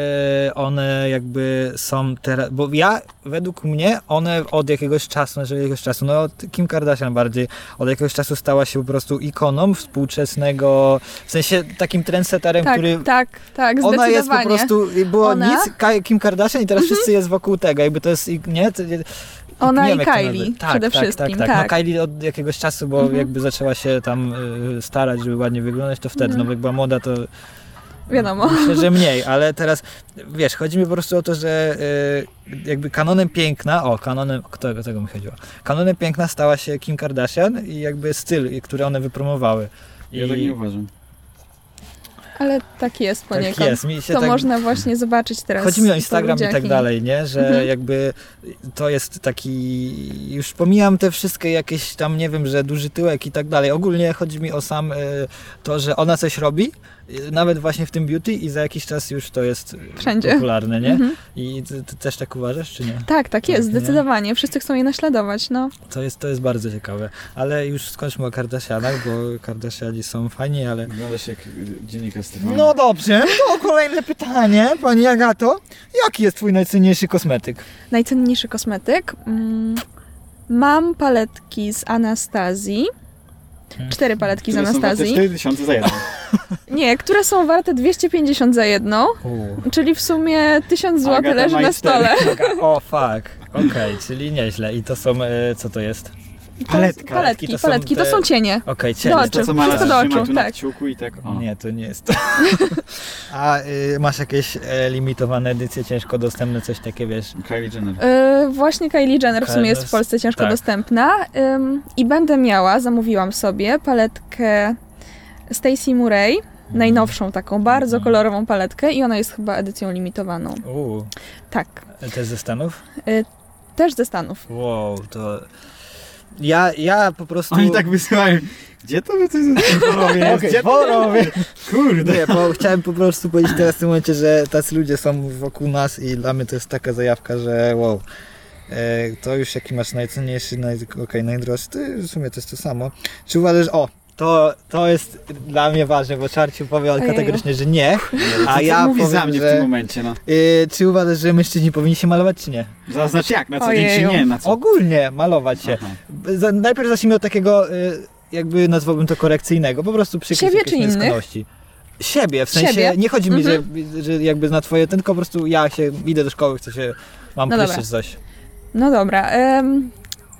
[SPEAKER 2] y, one jakby są teraz. Bo ja, według mnie, one od jakiegoś czasu, znaczy jakiegoś czasu, no od Kim Kardashian bardziej, od jakiegoś czasu stała się po prostu ikoną współczesnego, w sensie takim trendsetterem,
[SPEAKER 3] Tak,
[SPEAKER 2] który.
[SPEAKER 3] tak, tak, zdecydowanie.
[SPEAKER 2] Ona jest po prostu, było
[SPEAKER 3] Ona? Mhm.
[SPEAKER 2] nic, Ka- Kim Kardashian i teraz wszyscy jest wokół tego, jakby to jest, i- nie? To, nie
[SPEAKER 3] Ona
[SPEAKER 2] nie
[SPEAKER 3] i
[SPEAKER 2] wiem, jak to
[SPEAKER 3] Kylie
[SPEAKER 2] nazwać.
[SPEAKER 3] przede
[SPEAKER 2] tak,
[SPEAKER 3] wszystkim,
[SPEAKER 2] Tak, tak,
[SPEAKER 3] tak. Mhm.
[SPEAKER 2] No Kylie od jakiegoś czasu, bo jakby zaczęła się tam y, starać, żeby ładnie wyglądać, to wtedy,
[SPEAKER 3] Mhm.
[SPEAKER 2] no jak była młoda, to
[SPEAKER 3] Wiadomo.
[SPEAKER 2] Myślę, że mniej, ale teraz, wiesz, chodzi mi po prostu o to, że y, jakby kanonem piękna, o, kanonem, kto, o tego mi chodziło, kanonem piękna stała się Kim Kardashian i jakby styl, który one wypromowały. I
[SPEAKER 1] Ja tak nie uważam.
[SPEAKER 3] Ale tak jest poniekąd.
[SPEAKER 2] tak jest, mi się
[SPEAKER 3] to
[SPEAKER 2] tak...
[SPEAKER 3] można właśnie zobaczyć teraz.
[SPEAKER 2] Chodzi mi o
[SPEAKER 3] po
[SPEAKER 2] Instagram i
[SPEAKER 3] ludziach
[SPEAKER 2] tak dalej, nie? Że
[SPEAKER 3] Mhm.
[SPEAKER 2] jakby to jest taki, już pomijam te wszystkie jakieś tam, nie wiem, że duży tyłek i tak dalej. Ogólnie chodzi mi o sam y, to, że ona coś robi, y, nawet właśnie w tym beauty i za jakiś czas już to jest y,
[SPEAKER 3] Wszędzie.
[SPEAKER 2] popularne, nie?
[SPEAKER 3] Mhm.
[SPEAKER 2] I ty, ty też tak uważasz, czy nie?
[SPEAKER 3] Tak, tak jest,
[SPEAKER 2] Tak, nie?
[SPEAKER 3] zdecydowanie. Wszyscy chcą je naśladować, no.
[SPEAKER 2] To jest, to jest bardzo ciekawe. Ale już skończmy o Kardashianach, bo Kardashiani są fajni, ale...
[SPEAKER 1] Wyglądasz jak y, dziennikarz Stefan.
[SPEAKER 2] No dobrze, to kolejne pytanie, Pani Agato. Jaki jest Twój najcenniejszy kosmetyk?
[SPEAKER 3] Najcenniejszy kosmetyk. Mm, Mam paletki z Anastazji.
[SPEAKER 2] Hmm.
[SPEAKER 3] Cztery paletki z
[SPEAKER 1] Które są warte
[SPEAKER 3] Anastazji.
[SPEAKER 1] 4000 za jeden.
[SPEAKER 3] Nie, które są warte 250 za jedną, czyli w sumie 1000
[SPEAKER 1] Agata
[SPEAKER 3] zł leży
[SPEAKER 1] ma
[SPEAKER 3] na
[SPEAKER 1] i cztery.
[SPEAKER 3] stole.
[SPEAKER 2] O, fuck. Okej, czyli nieźle. I to są, e, co to jest?
[SPEAKER 1] Paletka.
[SPEAKER 3] Paletki,
[SPEAKER 2] to są
[SPEAKER 3] paletki, to
[SPEAKER 2] te-
[SPEAKER 3] są cienie.
[SPEAKER 2] Okej,
[SPEAKER 3] Do
[SPEAKER 2] cienie.
[SPEAKER 3] oczu.
[SPEAKER 1] To, co ma
[SPEAKER 3] Wszystko
[SPEAKER 1] nas
[SPEAKER 3] do
[SPEAKER 1] trzyma
[SPEAKER 3] oczu,
[SPEAKER 1] tu na
[SPEAKER 3] tak.
[SPEAKER 1] kciuku i tak o.
[SPEAKER 2] Nie, to nie jest to. A y, masz jakieś e, limitowane edycje, ciężko dostępne, coś takie, wiesz?
[SPEAKER 1] Kylie Jenner.
[SPEAKER 3] Yy, właśnie Kylie Jenner w sumie jest w Polsce ciężko
[SPEAKER 2] Tak.
[SPEAKER 3] dostępna. Ym, I będę miała, zamówiłam sobie paletkę Stacey Murray,
[SPEAKER 2] Mhm.
[SPEAKER 3] najnowszą taką, bardzo kolorową paletkę i ona jest chyba edycją limitowaną.
[SPEAKER 2] Uuu,
[SPEAKER 3] Tak,
[SPEAKER 2] też ze Stanów?
[SPEAKER 3] też ze Stanów.
[SPEAKER 2] Wow, to. Ja, ja po prostu.
[SPEAKER 1] Oni tak wysyłają. Gdzie to wy coś
[SPEAKER 2] Okej,
[SPEAKER 1] zrobiłeś? Gdzie to?
[SPEAKER 2] worowie.
[SPEAKER 1] Kurde.
[SPEAKER 2] Nie, bo chciałem po prostu powiedzieć teraz w tym momencie, że tacy ludzie są wokół nas i dla mnie to jest taka zajawka, że wow. E, to już jaki masz najcenniejszy, naj, okej, najdroższy, to w sumie to jest to samo. Czy uważasz, o, to, to jest dla mnie ważne, bo Czarciu powie
[SPEAKER 3] Ojeju.
[SPEAKER 2] kategorycznie, że nie. A
[SPEAKER 1] A
[SPEAKER 2] ja
[SPEAKER 1] ja mówi za
[SPEAKER 2] powiem,
[SPEAKER 1] mnie
[SPEAKER 2] że-
[SPEAKER 1] w tym momencie, no.
[SPEAKER 2] E, czy uważasz, że mężczyźni powinni się malować, czy nie?
[SPEAKER 1] Zaznacz jak, na co dzień
[SPEAKER 3] Ojeju.
[SPEAKER 1] czy nie, na co.
[SPEAKER 2] Ogólnie malować się.
[SPEAKER 1] Aha.
[SPEAKER 2] Za- Najpierw zacznijmy od takiego, y, jakby nazwałbym to korekcyjnego, po prostu przykryć
[SPEAKER 3] Siebie
[SPEAKER 2] jakieś
[SPEAKER 3] czy innych?
[SPEAKER 2] niedoskonałości. Siebie, w sensie,
[SPEAKER 3] Siebie? Mhm.
[SPEAKER 2] nie chodzi mi, że, że jakby na twoje, tylko po prostu ja się idę do szkoły, chcę się, mam
[SPEAKER 3] No
[SPEAKER 2] no
[SPEAKER 3] dobra.
[SPEAKER 2] pryszczyc coś.
[SPEAKER 3] No dobra, ym,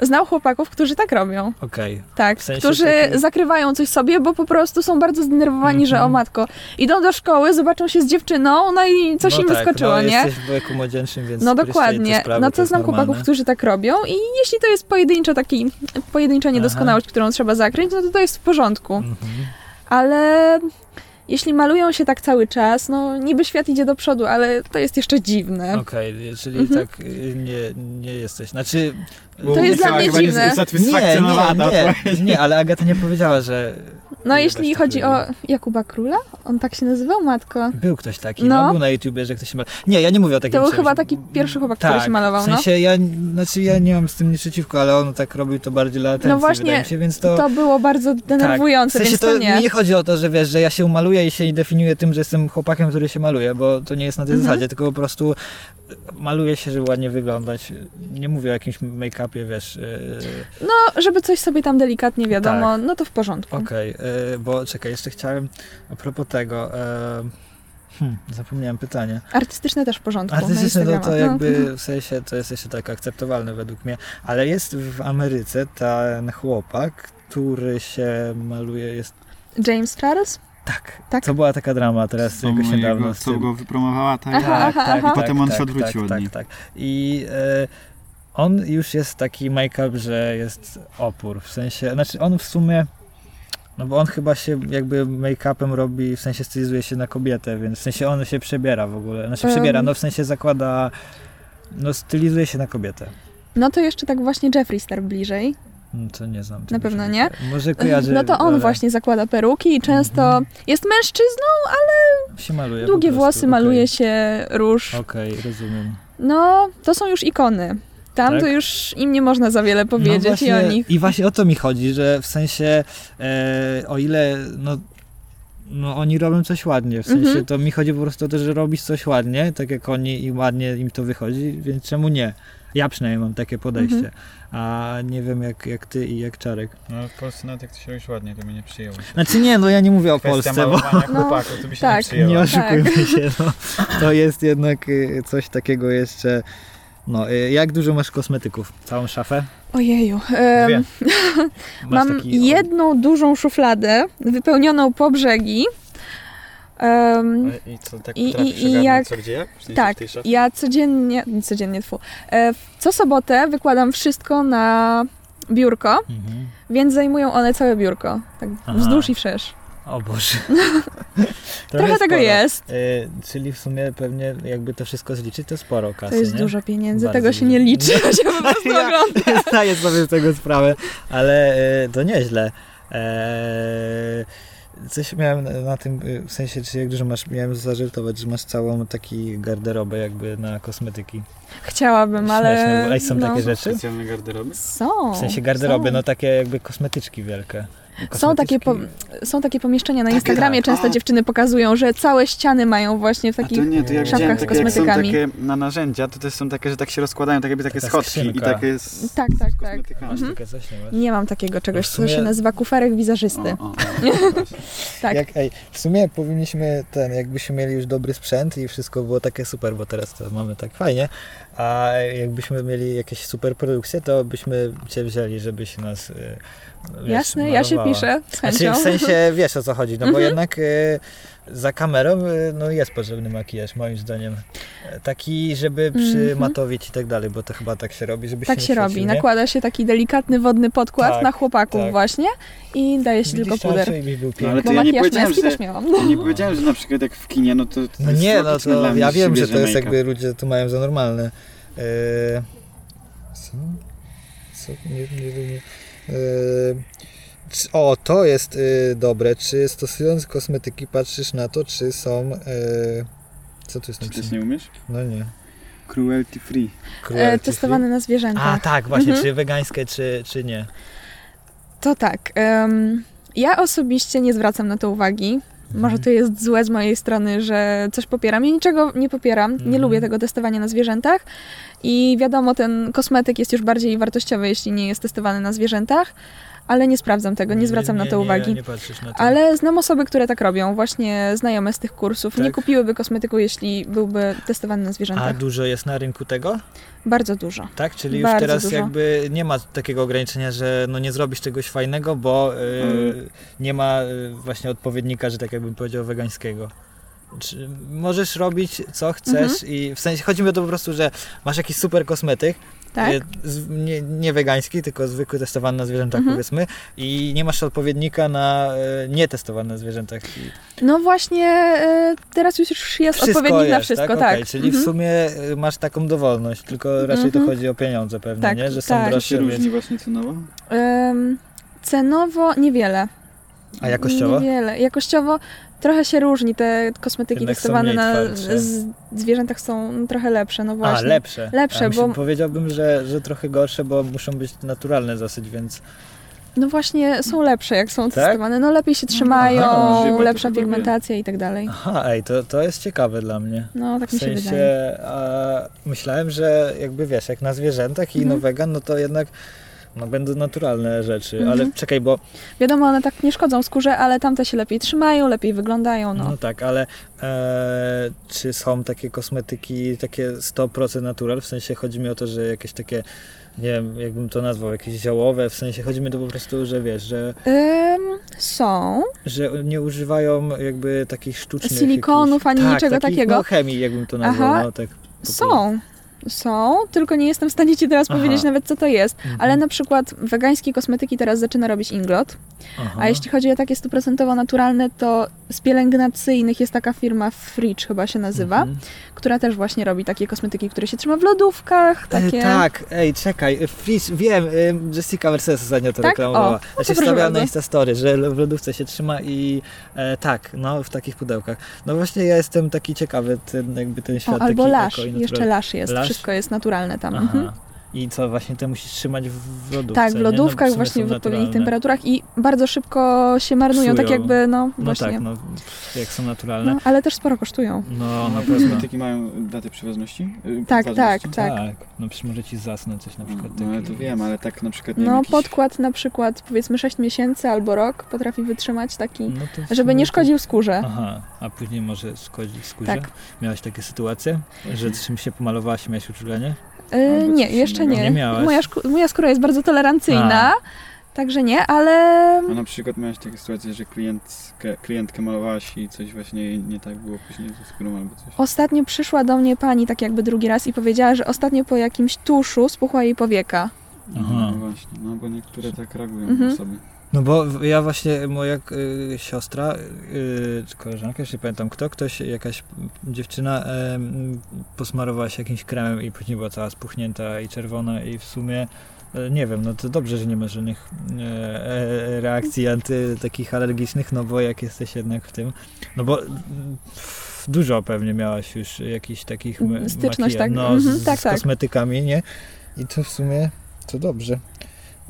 [SPEAKER 3] znam chłopaków, którzy tak robią.
[SPEAKER 2] Okej.
[SPEAKER 3] Tak,
[SPEAKER 2] W sensie
[SPEAKER 3] którzy
[SPEAKER 2] takim-
[SPEAKER 3] zakrywają coś sobie, bo po prostu są bardzo zdenerwowani, że o
[SPEAKER 2] Mhm.
[SPEAKER 3] matko, idą do szkoły, zobaczą się z dziewczyną, no i coś
[SPEAKER 2] no
[SPEAKER 3] im
[SPEAKER 2] tak,
[SPEAKER 3] wyskoczyło,
[SPEAKER 2] no,
[SPEAKER 3] nie?
[SPEAKER 2] Jesteś w wieku młodzieńczym, więc
[SPEAKER 3] No
[SPEAKER 2] pryszcze i te
[SPEAKER 3] dokładnie.
[SPEAKER 2] sprawy,
[SPEAKER 3] no to
[SPEAKER 2] jest
[SPEAKER 3] znam chłopaków,
[SPEAKER 2] normalne.
[SPEAKER 3] którzy tak robią i jeśli to jest pojedynczo taki, pojedyncza niedoskonałość, którą trzeba zakryć, no to to jest w porządku.
[SPEAKER 2] Mhm.
[SPEAKER 3] Ale jeśli malują się tak cały czas, no niby świat idzie do przodu, ale to jest jeszcze dziwne.
[SPEAKER 2] Okej, czyli
[SPEAKER 3] Mhm.
[SPEAKER 2] tak y, nie, nie jesteś, znaczy...
[SPEAKER 1] Bo
[SPEAKER 3] To jest
[SPEAKER 1] nie
[SPEAKER 3] dla mnie
[SPEAKER 1] chyba nie
[SPEAKER 3] dziwne.
[SPEAKER 1] Usatysfakcjonowana.
[SPEAKER 2] nie, nie, nie, ale Agata nie powiedziała, że
[SPEAKER 3] No
[SPEAKER 2] Nie,
[SPEAKER 3] jeśli
[SPEAKER 2] weź to
[SPEAKER 3] chodzi
[SPEAKER 2] drugie.
[SPEAKER 3] o Jakuba Króla, on tak się nazywał, matko.
[SPEAKER 2] Był ktoś taki, no,
[SPEAKER 3] No.
[SPEAKER 2] był na YouTubie, że ktoś się mal... Nie, ja nie mówię o takim
[SPEAKER 3] To był
[SPEAKER 2] czymś.
[SPEAKER 3] chyba no. taki pierwszy chłopak, który
[SPEAKER 2] Tak,
[SPEAKER 3] się malował,
[SPEAKER 2] w sensie ja, znaczy ja nie mam z tym nic przeciwko, ale on tak robił to bardziej dla atencji,
[SPEAKER 3] właśnie,
[SPEAKER 2] wydaje mi się, więc
[SPEAKER 3] no.
[SPEAKER 2] to...
[SPEAKER 3] To było bardzo
[SPEAKER 2] tak. W
[SPEAKER 3] denerwujące,
[SPEAKER 2] sensie
[SPEAKER 3] więc
[SPEAKER 2] to,
[SPEAKER 3] to
[SPEAKER 2] mi
[SPEAKER 3] nie.
[SPEAKER 2] nie chodzi o to, że wiesz, że ja się maluję i się definiuję tym, że jestem chłopakiem, który się maluje, bo to nie jest na tej
[SPEAKER 3] Mhm.
[SPEAKER 2] zasadzie, tylko po prostu maluję się, żeby ładnie wyglądać. Nie mówię o jakimś make-upie, wiesz, yy,
[SPEAKER 3] No, żeby coś sobie tam delikatnie wiadomo,
[SPEAKER 2] Tak.
[SPEAKER 3] no to w porządku.
[SPEAKER 2] Okej, yy, bo czekaj, jeszcze chciałem a propos tego, yy, hmm, zapomniałem pytanie.
[SPEAKER 3] Artystyczne też w porządku. na
[SPEAKER 2] Artystyczne to, to
[SPEAKER 3] Instagrama. No.
[SPEAKER 2] jakby w sensie to jest jeszcze tak akceptowalne według mnie, ale jest w Ameryce ten chłopak, który się maluje, jest
[SPEAKER 3] James Charles?
[SPEAKER 2] tak.
[SPEAKER 3] Tak?
[SPEAKER 2] To była taka drama teraz
[SPEAKER 1] Co,
[SPEAKER 2] jakoś niedawno.
[SPEAKER 1] mojego,
[SPEAKER 2] z
[SPEAKER 1] co
[SPEAKER 2] tym.
[SPEAKER 1] go wypromowała ta
[SPEAKER 3] Aha.
[SPEAKER 2] Tak, tak, tak.
[SPEAKER 1] potem on
[SPEAKER 2] tak,
[SPEAKER 1] się odwrócił
[SPEAKER 2] tak,
[SPEAKER 1] od
[SPEAKER 2] tak,
[SPEAKER 1] niej.
[SPEAKER 2] Tak, I e, on już jest taki make-up, że jest opór, w sensie, znaczy on w sumie, no bo on chyba się jakby make-upem robi, w sensie stylizuje się na kobietę, więc w sensie on się przebiera w ogóle, znaczy
[SPEAKER 3] Em.
[SPEAKER 2] przebiera, no w sensie zakłada, no stylizuje się na kobietę.
[SPEAKER 3] No to jeszcze tak właśnie Jeffree Star bliżej.
[SPEAKER 2] No To nie znam. tego
[SPEAKER 3] pewno
[SPEAKER 2] człowieka. Może kojarzy.
[SPEAKER 3] No to on
[SPEAKER 2] ale
[SPEAKER 3] właśnie zakłada peruki i często
[SPEAKER 2] Mhm.
[SPEAKER 3] jest mężczyzną,
[SPEAKER 2] Się maluje po
[SPEAKER 3] długie
[SPEAKER 2] prostu,
[SPEAKER 3] włosy,
[SPEAKER 2] okej.
[SPEAKER 3] maluje się róż.
[SPEAKER 2] Okej, rozumiem.
[SPEAKER 3] No, to są już ikony. Tam
[SPEAKER 2] Tak?
[SPEAKER 3] to już im nie można za wiele
[SPEAKER 2] No
[SPEAKER 3] powiedzieć
[SPEAKER 2] właśnie,
[SPEAKER 3] i o nich.
[SPEAKER 2] I właśnie o to mi chodzi, że w sensie e, o ile no, no oni robią coś ładnie, w
[SPEAKER 3] Mhm.
[SPEAKER 2] sensie to mi chodzi po prostu o to, że robisz coś ładnie, tak jak oni i ładnie im to wychodzi, więc czemu nie? Ja przynajmniej mam takie podejście,
[SPEAKER 3] Mhm.
[SPEAKER 2] a nie wiem jak, jak ty i jak Czarek.
[SPEAKER 1] No w Polsce nawet jak to się robisz ładnie, to by nie przyjęło.
[SPEAKER 2] Znaczy nie, no ja nie mówię o
[SPEAKER 1] Kwestia
[SPEAKER 2] Polsce, bo
[SPEAKER 1] malowania
[SPEAKER 3] No,
[SPEAKER 1] chłopaków, to by się nie
[SPEAKER 3] tak.
[SPEAKER 1] przyjęło.
[SPEAKER 2] nie
[SPEAKER 1] Nie
[SPEAKER 2] oszukujmy się, no. to jest jednak y, coś takiego jeszcze, no y, jak dużo masz kosmetyków? Całą szafę?
[SPEAKER 3] Ojeju. em,
[SPEAKER 1] Dwie.
[SPEAKER 2] Masz
[SPEAKER 3] Mam
[SPEAKER 2] taki-
[SPEAKER 3] jedną dużą szufladę wypełnioną po brzegi. Em,
[SPEAKER 1] I co, tak
[SPEAKER 3] I-
[SPEAKER 1] potrafisz
[SPEAKER 3] i- i
[SPEAKER 1] ogarnąć
[SPEAKER 3] jak-
[SPEAKER 1] co gdzie? jak? W sensie
[SPEAKER 3] tak,
[SPEAKER 1] w tej szafie?
[SPEAKER 3] ja codziennie, nie codziennie, tfu, e, w- co sobotę wykładam wszystko na biurko,
[SPEAKER 2] Mhm.
[SPEAKER 3] więc zajmują one całe biurko, tak
[SPEAKER 2] Aha.
[SPEAKER 3] wzdłuż i wszerz.
[SPEAKER 2] O Boże. To
[SPEAKER 3] Trochę tego
[SPEAKER 2] sporo.
[SPEAKER 3] jest.
[SPEAKER 2] Y, czyli w sumie pewnie jakby to wszystko zliczyć, to sporo kasy,
[SPEAKER 3] To jest
[SPEAKER 2] nie?
[SPEAKER 3] dużo pieniędzy,
[SPEAKER 2] Bardzo
[SPEAKER 3] tego się
[SPEAKER 2] dużo.
[SPEAKER 3] nie liczy, ja się po prostu
[SPEAKER 2] Ja-
[SPEAKER 3] oglądam.
[SPEAKER 2] Zdaję sobie z tego sprawę, ale y, to nieźle. Eee, Coś miałem na- na tym, y, w sensie, czy jak dużo masz, miałem zażartować, że masz całą taki garderobę jakby na kosmetyki.
[SPEAKER 3] Chciałabym,
[SPEAKER 2] Śmieszne,
[SPEAKER 3] ale... no.
[SPEAKER 2] bo- a są takie rzeczy?
[SPEAKER 1] Specjalne garderoby?
[SPEAKER 3] Są.
[SPEAKER 2] W sensie garderoby,
[SPEAKER 3] są.
[SPEAKER 2] no takie jakby kosmetyczki wielkie.
[SPEAKER 3] Są takie, po,
[SPEAKER 2] Kosmetyczki.
[SPEAKER 3] są takie pomieszczenia na Instagramie,
[SPEAKER 1] tak.
[SPEAKER 3] często
[SPEAKER 1] O.
[SPEAKER 3] dziewczyny pokazują, że całe ściany mają właśnie w
[SPEAKER 1] A
[SPEAKER 3] takich
[SPEAKER 1] to nie, to ja
[SPEAKER 2] szafkach
[SPEAKER 1] widziałem
[SPEAKER 2] z
[SPEAKER 1] takie, jak są
[SPEAKER 3] kosmetykami.
[SPEAKER 1] takie na narzędzia, to też są takie, że tak się rozkładają, tak jakby takie
[SPEAKER 2] Taka
[SPEAKER 1] schodki i
[SPEAKER 2] skrzynka.
[SPEAKER 1] takie z,
[SPEAKER 3] Tak, tak,
[SPEAKER 1] z
[SPEAKER 3] tak.
[SPEAKER 1] kosmetykami.
[SPEAKER 2] Masz takie coś, nie masz?
[SPEAKER 3] Nie mam takiego czegoś,
[SPEAKER 2] W sumie-
[SPEAKER 3] co się nazywa kuferek wizerzysty.
[SPEAKER 1] O, o, o.
[SPEAKER 3] Tak.
[SPEAKER 2] Jak, ej, w sumie powinniśmy ten, jakbyśmy mieli już dobry sprzęt i wszystko było takie super, bo teraz to mamy tak fajnie, a jakbyśmy mieli jakieś super produkcje, to byśmy cię wzięli, żebyś nas. y, Wiesz,
[SPEAKER 3] Jasne, ja się
[SPEAKER 2] malowała.
[SPEAKER 3] piszę z
[SPEAKER 2] Znaczy,
[SPEAKER 3] chęcią.
[SPEAKER 2] w sensie wiesz o co chodzi, no bo
[SPEAKER 3] Mhm.
[SPEAKER 2] jednak y, za kamerą y, no, jest potrzebny makijaż, moim zdaniem. E, Taki, żeby przymatowić i tak dalej, bo to chyba tak się robi, żeby
[SPEAKER 3] Mhm. Tak
[SPEAKER 2] się,
[SPEAKER 3] się
[SPEAKER 2] nie
[SPEAKER 3] robi.
[SPEAKER 2] świecił, nie?
[SPEAKER 3] Nakłada się taki delikatny wodny podkład
[SPEAKER 2] Tak,
[SPEAKER 3] na chłopaków
[SPEAKER 2] tak.
[SPEAKER 3] właśnie i daje się
[SPEAKER 2] Widzisz,
[SPEAKER 3] tylko puder.
[SPEAKER 2] Czarciu, jakbyś był
[SPEAKER 1] No, ale
[SPEAKER 2] piękny.
[SPEAKER 1] to
[SPEAKER 3] Bo
[SPEAKER 1] ja nie
[SPEAKER 3] makijaż
[SPEAKER 1] powiedziałem,
[SPEAKER 3] męski
[SPEAKER 1] że-
[SPEAKER 3] też miałam.
[SPEAKER 1] Ja nie powiedziałem, że na przykład jak w kinie, no to, to
[SPEAKER 2] No
[SPEAKER 1] jest
[SPEAKER 2] nie, no
[SPEAKER 1] logiczne
[SPEAKER 2] to
[SPEAKER 1] dla mnie,
[SPEAKER 2] ja
[SPEAKER 1] że się
[SPEAKER 2] wiem, że
[SPEAKER 1] bierze
[SPEAKER 2] to jest
[SPEAKER 1] make-up.
[SPEAKER 2] jakby ludzie to mają za normalne. Yy, co? Co? Nie, nie wiem. Yy, czy- o, to jest yy, dobre. Czy stosując kosmetyki patrzysz na to, czy są... Yy, co tu jest
[SPEAKER 1] Czy też
[SPEAKER 2] napisane?
[SPEAKER 1] nie umiesz?
[SPEAKER 2] No nie.
[SPEAKER 1] Cruelty free.
[SPEAKER 3] E,
[SPEAKER 2] Cruelty
[SPEAKER 3] testowane na
[SPEAKER 2] free?
[SPEAKER 3] zwierzęta.
[SPEAKER 2] A, tak, właśnie.
[SPEAKER 3] Mhm.
[SPEAKER 2] Czy wegańskie, czy, czy nie.
[SPEAKER 3] To tak. em, ja osobiście nie zwracam na to uwagi.
[SPEAKER 2] Mhm.
[SPEAKER 3] Może to jest złe z mojej strony, że coś popieram. Ja niczego nie popieram. Nie
[SPEAKER 2] Mhm.
[SPEAKER 3] lubię tego testowania na zwierzętach. I wiadomo, ten kosmetyk jest już bardziej wartościowy, jeśli nie jest testowany na zwierzętach, ale nie sprawdzam tego, nie zwracam
[SPEAKER 2] nie,
[SPEAKER 3] na to
[SPEAKER 2] nie,
[SPEAKER 3] uwagi.
[SPEAKER 2] Nie, nie patrzysz na to.
[SPEAKER 3] Ale znam osoby, które tak robią, właśnie znajome z tych kursów. Nie
[SPEAKER 2] Tak?
[SPEAKER 3] kupiłyby kosmetyku, jeśli byłby testowany na
[SPEAKER 2] A
[SPEAKER 3] zwierzętach.
[SPEAKER 2] dużo jest na rynku tego?
[SPEAKER 3] Bardzo dużo.
[SPEAKER 2] Tak? Czyli już
[SPEAKER 3] Bardzo
[SPEAKER 2] teraz
[SPEAKER 3] dużo.
[SPEAKER 2] jakby nie ma takiego ograniczenia, że no nie zrobisz czegoś fajnego, bo y,
[SPEAKER 1] Mm.
[SPEAKER 2] nie ma y, właśnie odpowiednika, że tak jakbym powiedział, wegańskiego. Czy możesz robić co chcesz
[SPEAKER 3] Mhm.
[SPEAKER 2] i w sensie chodzi mi o to po prostu, że masz jakiś super kosmetyk,
[SPEAKER 3] Tak?
[SPEAKER 2] y, z, nie, nie wegański, tylko zwykły testowany na zwierzętach
[SPEAKER 3] Mhm.
[SPEAKER 2] powiedzmy i nie masz odpowiednika na y, nietestowany na zwierzętach. I
[SPEAKER 3] No właśnie, e, teraz już jest odpowiednik na wszystko, tak.
[SPEAKER 2] Okej, czyli
[SPEAKER 3] Mhm.
[SPEAKER 2] w sumie y, masz taką dowolność, tylko raczej
[SPEAKER 3] Mhm.
[SPEAKER 2] to chodzi o pieniądze pewnie,
[SPEAKER 3] Tak,
[SPEAKER 2] nie? Że są
[SPEAKER 3] tak.
[SPEAKER 1] To
[SPEAKER 2] droższe,
[SPEAKER 1] się
[SPEAKER 2] więc
[SPEAKER 1] różni właśnie cenowo?
[SPEAKER 3] Em, cenowo niewiele.
[SPEAKER 2] A jakościowo?
[SPEAKER 3] Niewiele. Jakościowo trochę się różni. Te kosmetyki
[SPEAKER 2] Jednak są
[SPEAKER 3] testowane
[SPEAKER 2] mniej
[SPEAKER 3] na
[SPEAKER 2] twardsze.
[SPEAKER 3] z, zwierzętach są trochę lepsze, no właśnie.
[SPEAKER 2] A, lepsze.
[SPEAKER 3] Lepsze,
[SPEAKER 2] A, myślę-
[SPEAKER 3] bo-
[SPEAKER 2] Powiedziałbym, że, że trochę gorsze, bo muszą być naturalne dosyć, więc...
[SPEAKER 3] No właśnie są lepsze, jak są
[SPEAKER 2] Tak? no,
[SPEAKER 3] testowane. No lepiej się trzymają,
[SPEAKER 1] Aha, żywe to
[SPEAKER 3] lepsza
[SPEAKER 1] chyba wiem.
[SPEAKER 3] pigmentacja i tak dalej.
[SPEAKER 2] Aha, ej, to, to jest ciekawe dla mnie.
[SPEAKER 3] No tak
[SPEAKER 2] W
[SPEAKER 3] mi się wydaje.
[SPEAKER 2] sensie a, myślałem, że jakby wiesz, jak na zwierzętach i
[SPEAKER 3] Mhm.
[SPEAKER 2] no wegan, no to jednak no, będą naturalne rzeczy,
[SPEAKER 3] Mhm.
[SPEAKER 2] ale czekaj, bo
[SPEAKER 3] Wiadomo, one tak nie szkodzą skórze, ale tamte się lepiej trzymają, lepiej wyglądają,
[SPEAKER 2] no,
[SPEAKER 3] no.
[SPEAKER 2] tak, ale e, czy są takie kosmetyki takie 100% natural? W sensie chodzi mi o to, że jakieś takie, nie wiem, jakbym to nazwał, jakieś ziołowe, w sensie chodzi mi to po prostu, że wiesz, że
[SPEAKER 3] Ym, są.
[SPEAKER 2] że nie używają jakby takich sztucznych
[SPEAKER 3] Silikonów
[SPEAKER 2] jakichś-
[SPEAKER 3] ani
[SPEAKER 2] tak,
[SPEAKER 3] niczego
[SPEAKER 2] takich,
[SPEAKER 3] takiego.
[SPEAKER 2] No, chemii, jakbym to nazwał,
[SPEAKER 3] Aha.
[SPEAKER 2] no tak.
[SPEAKER 3] Są. Są, tylko nie jestem w stanie ci teraz
[SPEAKER 2] Aha.
[SPEAKER 3] powiedzieć nawet co to jest.
[SPEAKER 2] Mhm.
[SPEAKER 3] Ale na przykład wegańskie kosmetyki teraz zaczyna robić Inglot.
[SPEAKER 2] Aha.
[SPEAKER 3] A jeśli chodzi o takie stuprocentowo naturalne, to z pielęgnacyjnych jest taka firma Fridge chyba się nazywa,
[SPEAKER 2] Mhm.
[SPEAKER 3] która też właśnie robi takie kosmetyki, które się trzyma w lodówkach, takie...
[SPEAKER 2] E, tak, ej, czekaj, e, Fish, wiem, e, Jessica Mercedes ostatnio to
[SPEAKER 3] Tak? O,
[SPEAKER 2] reklamowała. Znaczy,
[SPEAKER 3] no to
[SPEAKER 2] się
[SPEAKER 3] proszę
[SPEAKER 2] stawiała
[SPEAKER 3] bardzo.
[SPEAKER 2] na Instastory, że l- w lodówce się trzyma i e, tak, no w takich pudełkach. No właśnie ja jestem taki ciekawy, ten, jakby ten
[SPEAKER 3] O,
[SPEAKER 2] świat
[SPEAKER 3] albo
[SPEAKER 2] taki
[SPEAKER 3] lasz,
[SPEAKER 2] eko i
[SPEAKER 3] jeszcze
[SPEAKER 2] naturalny.
[SPEAKER 3] lasz jest,
[SPEAKER 2] Lasz?
[SPEAKER 3] wszystko jest naturalne tam.
[SPEAKER 2] Aha.
[SPEAKER 3] Mhm.
[SPEAKER 2] I co, właśnie te musisz trzymać w w lodówce,
[SPEAKER 3] tak, w
[SPEAKER 2] nie? No,
[SPEAKER 3] lodówkach,
[SPEAKER 2] sumie
[SPEAKER 3] właśnie
[SPEAKER 2] są
[SPEAKER 3] w odpowiednich
[SPEAKER 2] naturalne.
[SPEAKER 3] temperaturach i bardzo szybko się marnują, tak
[SPEAKER 2] Psują.
[SPEAKER 3] jakby, no
[SPEAKER 2] No
[SPEAKER 3] właśnie.
[SPEAKER 2] tak, no, pff, jak są naturalne.
[SPEAKER 3] no, ale też sporo kosztują.
[SPEAKER 2] No, na
[SPEAKER 1] A
[SPEAKER 2] pewno.
[SPEAKER 1] kosmetyki mają datę przywoźności? Y,
[SPEAKER 3] Tak,
[SPEAKER 1] ważności?
[SPEAKER 3] tak,
[SPEAKER 2] Tak. no przecież może ci zasnąć coś na przykład.
[SPEAKER 1] No ale
[SPEAKER 2] taki-
[SPEAKER 1] to wiem, ale tak na przykład nie wiem,
[SPEAKER 3] No,
[SPEAKER 1] jakiś-
[SPEAKER 3] podkład na przykład powiedzmy 6 miesięcy albo rok potrafi wytrzymać
[SPEAKER 1] Mm.
[SPEAKER 3] taki,
[SPEAKER 2] No to w
[SPEAKER 3] żeby
[SPEAKER 2] sumie
[SPEAKER 3] nie
[SPEAKER 2] to-
[SPEAKER 3] szkodził skórze.
[SPEAKER 2] Aha, a później może szkodzić skórze?
[SPEAKER 3] Tak.
[SPEAKER 2] Miałaś takie sytuacje, że czymś się pomalowałaś i miałaś uczulenie?
[SPEAKER 3] Y,
[SPEAKER 1] Albo
[SPEAKER 3] nie,
[SPEAKER 1] coś
[SPEAKER 3] jeszcze
[SPEAKER 1] innego.
[SPEAKER 3] nie.
[SPEAKER 2] Nie miałaś.
[SPEAKER 3] moja, szku- moja skóra jest bardzo tolerancyjna, także nie, ale
[SPEAKER 1] A na przykład miałeś takie sytuacje, że klientkę, klientkę malowałaś i coś właśnie nie tak było później ze skórą albo coś.
[SPEAKER 3] ostatnio przyszła do mnie pani tak jakby drugi raz i powiedziała, że ostatnio po jakimś tuszu spuchła jej powieka.
[SPEAKER 2] Aha.
[SPEAKER 1] No właśnie, no bo niektóre tak reagują
[SPEAKER 3] Mhm.
[SPEAKER 1] osoby.
[SPEAKER 2] No bo w- ja właśnie, moja y, siostra, y, czy koleżanka, już nie pamiętam kto, ktoś, jakaś dziewczyna em, posmarowała się jakimś kremem i później była cała spuchnięta i czerwona i w sumie, e, nie wiem, no to dobrze, że nie ma żadnych e, e, reakcji anty, takich alergicznych, no bo jak jesteś jednak w tym, no bo mm, pff, dużo pewnie miałaś już jakichś takich ma-
[SPEAKER 3] Styczność,
[SPEAKER 2] makijaż-
[SPEAKER 3] tak?
[SPEAKER 2] no,
[SPEAKER 3] Mhm,
[SPEAKER 2] z,
[SPEAKER 3] tak,
[SPEAKER 2] z
[SPEAKER 3] tak.
[SPEAKER 2] kosmetykami, nie? I to w sumie, to dobrze.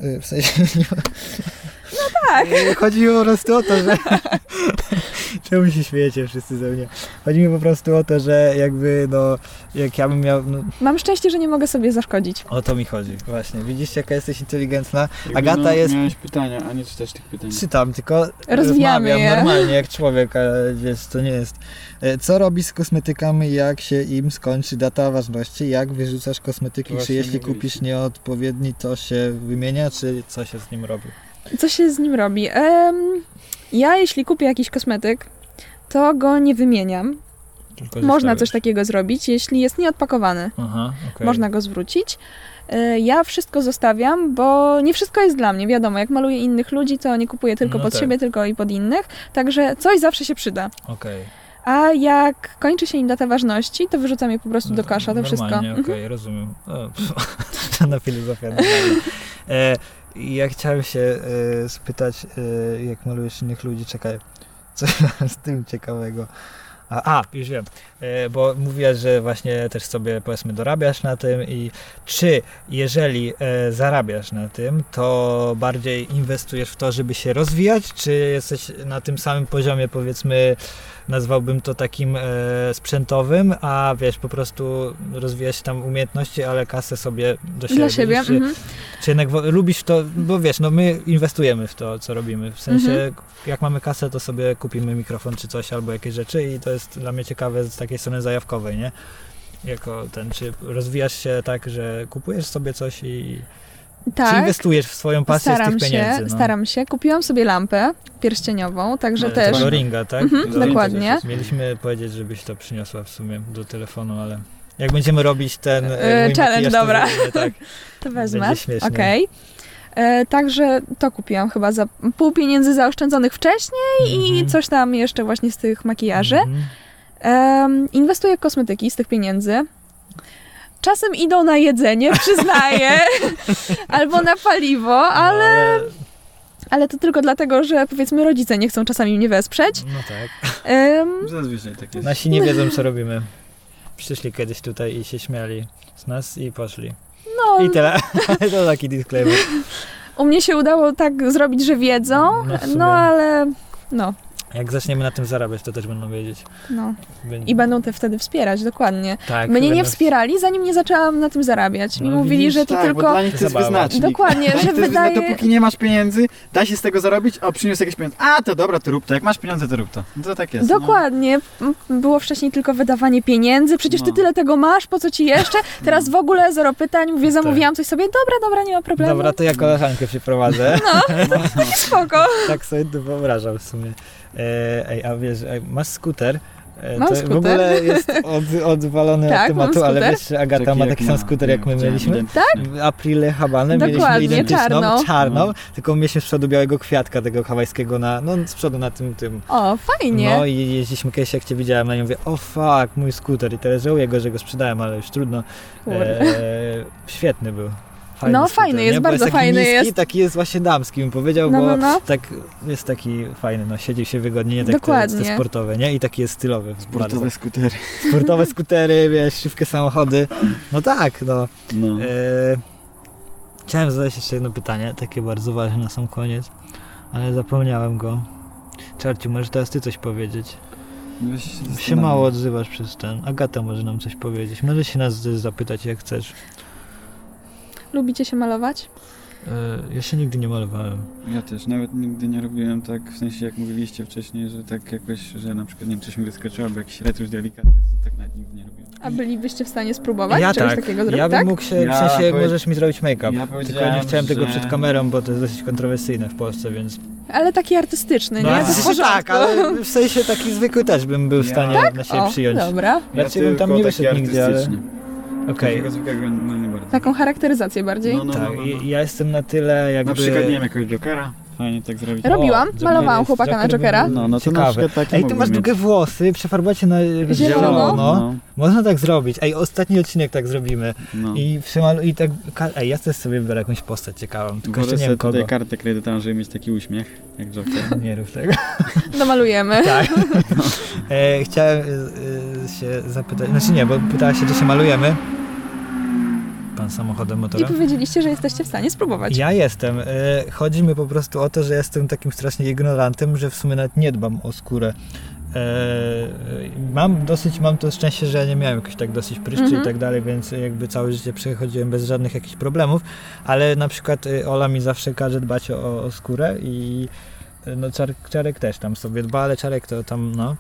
[SPEAKER 2] Y, W sensie nie ma
[SPEAKER 3] Tak.
[SPEAKER 2] nie, Chodzi mi po prostu o to, że... Czemu się śmiejecie wszyscy ze mnie? Chodzi mi po prostu o to, że jakby no, jak ja bym miał... No,
[SPEAKER 3] Mam szczęście, że nie mogę sobie zaszkodzić.
[SPEAKER 2] o to mi chodzi, właśnie. Widzicie, jaka jesteś inteligentna?
[SPEAKER 1] Jakby,
[SPEAKER 2] Agata
[SPEAKER 1] no,
[SPEAKER 2] jest-
[SPEAKER 1] Miałeś pytania, a nie czytasz tych pytań.
[SPEAKER 2] Czytam, tylko
[SPEAKER 3] Rozwijamy
[SPEAKER 2] rozmawiam
[SPEAKER 3] je.
[SPEAKER 2] normalnie jak człowiek, ale wiesz, to nie jest. E, Co robisz z kosmetykami, jak się im skończy data ważności? Jak wyrzucasz kosmetyki?
[SPEAKER 1] To
[SPEAKER 2] Czy
[SPEAKER 1] właśnie
[SPEAKER 2] jeśli
[SPEAKER 1] mówiliśmy.
[SPEAKER 2] kupisz nieodpowiedni, to się wymienia, czy co się z nim robi?
[SPEAKER 3] Co się z nim robi? Em, ja jeśli kupię jakiś kosmetyk, to go nie wymieniam.
[SPEAKER 2] Tylko
[SPEAKER 3] Można
[SPEAKER 2] zostawiasz.
[SPEAKER 3] coś takiego zrobić, jeśli jest nieodpakowany.
[SPEAKER 2] Aha, okej.
[SPEAKER 3] Można go zwrócić. E, Ja wszystko zostawiam, bo nie wszystko jest dla mnie. Wiadomo, jak maluję innych ludzi, to nie kupuję tylko
[SPEAKER 2] No
[SPEAKER 3] pod
[SPEAKER 2] tak.
[SPEAKER 3] siebie, tylko i pod innych. Także coś zawsze się przyda.
[SPEAKER 2] Okej.
[SPEAKER 3] A jak kończy się im data ważności, to wyrzucam je po prostu do kosza, to
[SPEAKER 2] Normalnie,
[SPEAKER 3] wszystko. Mhm.
[SPEAKER 2] Okej, rozumiem. O, pff, Żadna filozofia. normalnie. E, ja chciałem się e, spytać, e, jak malujesz innych ludzi, czekaj, co z tym ciekawego? A, a już wiem, e, bo mówiłaś, że właśnie też sobie powiedzmy dorabiasz na tym i czy jeżeli e, zarabiasz na tym, to bardziej inwestujesz w to, żeby się rozwijać, czy jesteś na tym samym poziomie powiedzmy nazwałbym to takim e, sprzętowym, a wiesz, po prostu rozwijać tam umiejętności, ale kasę sobie do siebie.
[SPEAKER 3] Dla siebie.
[SPEAKER 2] Czy,
[SPEAKER 3] mhm.
[SPEAKER 2] czy jednak wo- lubisz to, bo wiesz, no my inwestujemy w to, co robimy. W sensie,
[SPEAKER 3] Mhm.
[SPEAKER 2] jak mamy kasę, to sobie kupimy mikrofon czy coś, albo jakieś rzeczy i to jest dla mnie ciekawe z takiej strony zajawkowej, nie? Jako ten, czy rozwijasz się tak, że kupujesz sobie coś i... Czy
[SPEAKER 3] Tak.
[SPEAKER 2] inwestujesz w swoją pasję z
[SPEAKER 3] Staram
[SPEAKER 2] tych
[SPEAKER 3] się,
[SPEAKER 2] pieniędzy? no?
[SPEAKER 3] staram się. Kupiłam sobie lampę pierścieniową, także
[SPEAKER 1] No, to
[SPEAKER 3] też.
[SPEAKER 2] Do ringa, tak?
[SPEAKER 3] Mhm,
[SPEAKER 2] Do-
[SPEAKER 3] dokładnie.
[SPEAKER 2] Mieliśmy powiedzieć, żebyś to przyniosła w sumie do telefonu, ale jak będziemy robić ten e,
[SPEAKER 3] E,
[SPEAKER 2] mój
[SPEAKER 3] challenge,
[SPEAKER 2] makijaż, to
[SPEAKER 3] dobra.
[SPEAKER 2] zrobimy, tak.
[SPEAKER 3] To wezmę.
[SPEAKER 2] Będzie śmiesznie.
[SPEAKER 3] Okej. E, Także to kupiłam chyba za pół pieniędzy zaoszczędzonych wcześniej i
[SPEAKER 2] Mhm.
[SPEAKER 3] coś tam jeszcze właśnie z tych makijaży.
[SPEAKER 2] Mhm.
[SPEAKER 3] Em, inwestuję w kosmetyki z tych pieniędzy. Czasem idą na jedzenie, przyznaję, albo na paliwo,
[SPEAKER 2] No,
[SPEAKER 3] ale, ale to tylko dlatego, że powiedzmy rodzice nie chcą czasami mnie wesprzeć.
[SPEAKER 2] No tak.
[SPEAKER 3] Em,
[SPEAKER 1] Zazwyczaj tak jest.
[SPEAKER 2] Nasi nie wiedzą, co robimy. Przyszli kiedyś tutaj i się śmiali z nas i poszli.
[SPEAKER 3] no,
[SPEAKER 2] I tyle. to taki disclaimer.
[SPEAKER 3] u mnie się udało tak zrobić, że wiedzą,
[SPEAKER 2] No w sumie.
[SPEAKER 3] no ale no,
[SPEAKER 2] Jak zaczniemy na tym zarabiać, to też będą wiedzieć.
[SPEAKER 3] no.
[SPEAKER 2] Będ-
[SPEAKER 3] I będą te wtedy wspierać, dokładnie.
[SPEAKER 2] Mhm. tak,
[SPEAKER 3] Mnie nie
[SPEAKER 2] będą-
[SPEAKER 3] wspierali, zanim nie zaczęłam na tym zarabiać. Mi
[SPEAKER 2] No,
[SPEAKER 3] mówili,
[SPEAKER 2] widzisz,
[SPEAKER 3] że to
[SPEAKER 1] tak, bo
[SPEAKER 3] tylko...
[SPEAKER 1] dla nich to jest
[SPEAKER 2] Zabawa.
[SPEAKER 1] wyznacznik.
[SPEAKER 3] Dokładnie,
[SPEAKER 1] Dla nich
[SPEAKER 3] że
[SPEAKER 1] to jest wyznacznik,
[SPEAKER 3] wydaje...
[SPEAKER 1] dopóki nie masz pieniędzy, da się z tego zarobić, o przyniósł jakieś pieniądze. A, to dobra, to rób to. Jak masz pieniądze, to rób to. No to tak jest. no.
[SPEAKER 3] Dokładnie. M- Było wcześniej tylko wydawanie pieniędzy, przecież ty
[SPEAKER 1] No.
[SPEAKER 3] tyle tego masz, po co ci jeszcze? Teraz w ogóle zero pytań, mówię, zamówiłam coś sobie, dobra, dobra, nie ma problemu.
[SPEAKER 2] Tak. Dobra, no. to ja koleżankę przyprowadzę.
[SPEAKER 3] No. Spoko.
[SPEAKER 2] Tak sobie to wyobrażam w sumie. E, Ej, a wiesz, ej, masz skuter. E,
[SPEAKER 3] Mam
[SPEAKER 2] to
[SPEAKER 3] skuter.
[SPEAKER 2] W ogóle jest od, odwalony
[SPEAKER 3] Tak,
[SPEAKER 2] od
[SPEAKER 3] mam
[SPEAKER 2] tematu, ale
[SPEAKER 3] skuter.
[SPEAKER 2] wiesz, że Agata ma
[SPEAKER 1] jak
[SPEAKER 2] taki
[SPEAKER 1] ja.
[SPEAKER 2] sam skuter, jak my
[SPEAKER 1] Chciałem
[SPEAKER 2] mieliśmy.
[SPEAKER 1] identyczny.
[SPEAKER 2] W Aprile Habanę mieliśmy
[SPEAKER 3] Dokładnie,
[SPEAKER 2] identyczną,
[SPEAKER 3] czarną.
[SPEAKER 2] czarną,
[SPEAKER 1] No.
[SPEAKER 2] tylko mieliśmy z przodu białego kwiatka tego hawajskiego na, no z przodu na tym, tym.
[SPEAKER 3] O, fajnie.
[SPEAKER 2] No i jeździliśmy kiedyś, jak cię widziałem, na nią mówię, o fuck, mój skuter i teraz żałuję go, że go sprzedałem, ale już trudno.
[SPEAKER 3] Kurde.
[SPEAKER 2] E, świetny był. Fajny
[SPEAKER 3] No,
[SPEAKER 2] skuter,
[SPEAKER 3] fajny jest,
[SPEAKER 2] nie? Bo
[SPEAKER 3] bardzo
[SPEAKER 2] jest taki
[SPEAKER 3] fajny
[SPEAKER 2] niski,
[SPEAKER 3] jest.
[SPEAKER 2] Taki jest właśnie damski, bym powiedział,
[SPEAKER 3] No,
[SPEAKER 2] bo
[SPEAKER 3] no, no.
[SPEAKER 2] tak jest taki fajny, no siedzi się wygodnie, nie tak Te, te
[SPEAKER 3] Dokładnie.
[SPEAKER 2] sportowe, nie? I taki jest stylowy. bardzo.
[SPEAKER 1] Sportowe skutery.
[SPEAKER 2] sportowe skutery, wiesz, szybkie samochody. No tak, no.
[SPEAKER 1] No.
[SPEAKER 2] E, chciałem zadać jeszcze jedno pytanie, takie bardzo ważne na sam koniec, ale zapomniałem go. Czarciu, możesz teraz ty coś powiedzieć.
[SPEAKER 1] Weź No, się
[SPEAKER 2] Się
[SPEAKER 1] zastanawiam.
[SPEAKER 2] mało odzywasz przez ten. Agata może nam coś powiedzieć. Możesz się nas też zapytać, jak chcesz.
[SPEAKER 3] Lubicie się malować?
[SPEAKER 2] E, ja się nigdy nie malowałem.
[SPEAKER 1] Ja też, nawet nigdy nie robiłem tak, w sensie jak mówiliście wcześniej, że tak jakoś, że na przykład nie wiem, coś mi wyskoczyło, albo jakiś retusz delikatny, to tak nawet nigdy nie robiłem.
[SPEAKER 3] A bylibyście w stanie spróbować
[SPEAKER 2] ja
[SPEAKER 3] czegoś
[SPEAKER 2] tak.
[SPEAKER 3] takiego zrobić,
[SPEAKER 2] ja bym
[SPEAKER 3] tak?
[SPEAKER 2] mógł się, w
[SPEAKER 1] Ja
[SPEAKER 2] sensie
[SPEAKER 1] powie-
[SPEAKER 2] możesz mi zrobić make-up.
[SPEAKER 1] Ja
[SPEAKER 2] Tylko ja nie
[SPEAKER 1] powiedziałem,
[SPEAKER 2] chciałem tego
[SPEAKER 1] że-
[SPEAKER 2] przed kamerą, bo to jest dosyć kontrowersyjne w Polsce, więc
[SPEAKER 3] Ale taki artystyczny, No nie?
[SPEAKER 2] ale
[SPEAKER 3] To w
[SPEAKER 2] w sensie
[SPEAKER 3] porządku. Tak?
[SPEAKER 2] tak, ale w sensie taki zwykły też bym był w
[SPEAKER 1] Ja-
[SPEAKER 2] stanie na siebie
[SPEAKER 3] O,
[SPEAKER 2] przyjąć.
[SPEAKER 3] dobra.
[SPEAKER 2] Raczej
[SPEAKER 1] Znaczy,
[SPEAKER 2] bym tam
[SPEAKER 1] tylko taki
[SPEAKER 2] nie wyszedł nigdy, ale-
[SPEAKER 1] artystyczny.
[SPEAKER 2] Okej.
[SPEAKER 1] Takiego zwykłego, no nie bardzo.
[SPEAKER 3] Taką charakteryzację bardziej.
[SPEAKER 1] No, no,
[SPEAKER 2] Tak,
[SPEAKER 1] no, no, no.
[SPEAKER 2] i- ja jestem na tyle jakby...
[SPEAKER 1] Na przykład, nie wiem, jakiegoś Jokera, fajnie tak zrobić.
[SPEAKER 3] Rob- Robiłam,
[SPEAKER 2] Joker
[SPEAKER 3] malowałam
[SPEAKER 2] jest-
[SPEAKER 3] chłopaka na
[SPEAKER 2] Joker
[SPEAKER 3] Jokera.
[SPEAKER 2] był
[SPEAKER 1] No, no to
[SPEAKER 2] ciekawy.
[SPEAKER 1] na przykład taki
[SPEAKER 2] Ej, ty
[SPEAKER 1] mógłbym
[SPEAKER 2] masz
[SPEAKER 1] mieć.
[SPEAKER 2] długie włosy, przefarbacie na zielono.
[SPEAKER 3] Zielono.
[SPEAKER 2] Można tak zrobić. Ej, ostatni odcinek tak zrobimy.
[SPEAKER 1] no.
[SPEAKER 2] I, przymalu... I tak... ka- Ej, ja też sobie wybiorę jakąś postać ciekawą,
[SPEAKER 1] Biorę
[SPEAKER 2] tylko jeszcze nie
[SPEAKER 1] sobie
[SPEAKER 2] wiem kogo.
[SPEAKER 1] tutaj kartę kredytową, żeby mieć taki uśmiech, jak Joker.
[SPEAKER 2] Nie rób tego.
[SPEAKER 3] Domalujemy.
[SPEAKER 2] Tak. E, chciałem y, y, się zapytać... Znaczy nie, bo pytałaś się, czy się malujemy. Pan samochodem
[SPEAKER 3] I
[SPEAKER 2] motorem.
[SPEAKER 3] powiedzieliście, że jesteście w stanie spróbować.
[SPEAKER 2] Ja jestem. Y, Chodzi mi po prostu o to, że jestem takim strasznie ignorantem, że w sumie nawet nie dbam o skórę. E, Mam dosyć, mam to szczęście, że ja nie miałem jakoś tak dosyć pryszczy i
[SPEAKER 3] Mhm.
[SPEAKER 2] tak dalej, więc jakby całe życie przechodziłem bez żadnych jakichś problemów, ale na przykład y, Ola mi zawsze każe dbać o, o skórę i y, no czar, Czarek też tam sobie dba, ale Czarek to tam no...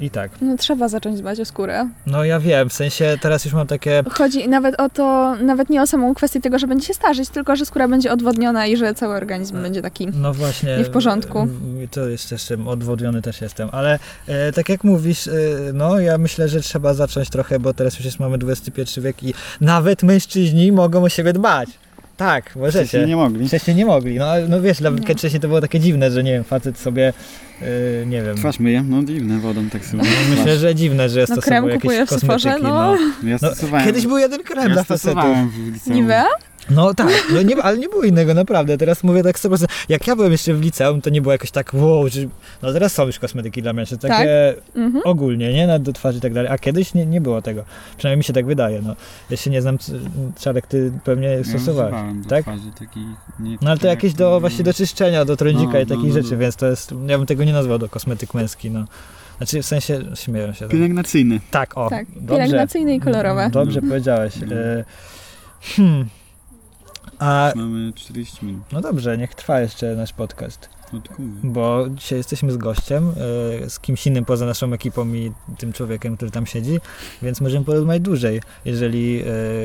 [SPEAKER 2] I tak.
[SPEAKER 3] No trzeba zacząć dbać o skórę.
[SPEAKER 2] No ja wiem, w sensie teraz już mam takie...
[SPEAKER 3] Chodzi nawet o to, nawet nie o samą kwestię tego, że będzie się starzyć, tylko że skóra będzie odwodniona i że cały organizm będzie taki.
[SPEAKER 2] No właśnie.
[SPEAKER 3] Nie w porządku.
[SPEAKER 2] m, To jest też m, odwodniony też jestem, ale e, tak jak mówisz, e, no ja myślę, że trzeba zacząć trochę, bo teraz przecież mamy XXI wiek i nawet mężczyźni mogą o siebie dbać. Tak,
[SPEAKER 1] Wcześniej
[SPEAKER 2] możecie.
[SPEAKER 1] nie mogli.
[SPEAKER 2] Wcześniej nie mogli. No, ale- no wiesz, dla mnie
[SPEAKER 3] Nie.
[SPEAKER 2] wcześniej to było takie dziwne, że nie wiem, facet sobie e, nie wiem.
[SPEAKER 1] Twarz myję, no dziwne, wodą tak sobie.
[SPEAKER 2] Myślę, że dziwne, że
[SPEAKER 3] No,
[SPEAKER 2] stosował
[SPEAKER 3] krem kupuję
[SPEAKER 2] jakieś
[SPEAKER 3] w Sephorze,
[SPEAKER 2] kosmetyki.
[SPEAKER 3] no.
[SPEAKER 1] Ja
[SPEAKER 2] No,
[SPEAKER 1] stosowałem.
[SPEAKER 2] kiedyś był jeden krem
[SPEAKER 1] ja
[SPEAKER 2] dla facetów.
[SPEAKER 1] stosowałem w liceum.
[SPEAKER 3] Nivea?
[SPEAKER 2] No tak, no nie, ale nie było innego, naprawdę. Teraz mówię tak 100%. Jak ja byłem jeszcze w liceum, to nie było jakoś tak wow, że... No teraz są już kosmetyki dla mężczyzn,
[SPEAKER 3] Tak.
[SPEAKER 2] takie
[SPEAKER 3] Mhm.
[SPEAKER 2] ogólnie, nie? Na do twarzy i tak dalej. A kiedyś nie, nie było tego. Przynajmniej mi się tak wydaje, no. Ja się nie znam, c- Czarek, ty pewnie
[SPEAKER 1] Ja
[SPEAKER 2] stosowałeś.
[SPEAKER 1] używałem do
[SPEAKER 2] tak?
[SPEAKER 1] Twarzy, taki, nie, tak, mm,
[SPEAKER 2] No ale to jakieś do, właśnie do czyszczenia, do trądzika
[SPEAKER 1] No,
[SPEAKER 2] i takich
[SPEAKER 1] no, no,
[SPEAKER 2] rzeczy,
[SPEAKER 1] no.
[SPEAKER 2] więc to jest... Ja bym tego nie nazwał do kosmetyk męski, no. Znaczy w sensie, śmieję się. Tak,
[SPEAKER 1] Pielęgnacyjny.
[SPEAKER 2] tak o,
[SPEAKER 3] tak,
[SPEAKER 2] dobrze.
[SPEAKER 3] pielęgnacyjne i kolorowe.
[SPEAKER 2] Dobrze powiedziałeś.
[SPEAKER 1] No.
[SPEAKER 2] E, hmm. A
[SPEAKER 1] Mamy 40 minut.
[SPEAKER 2] No dobrze, niech trwa jeszcze nasz podcast,
[SPEAKER 1] No to kurde.
[SPEAKER 2] bo dzisiaj jesteśmy z gościem, y, z kimś innym poza naszą ekipą i tym człowiekiem, który tam siedzi, więc możemy porozmawiać dłużej, jeżeli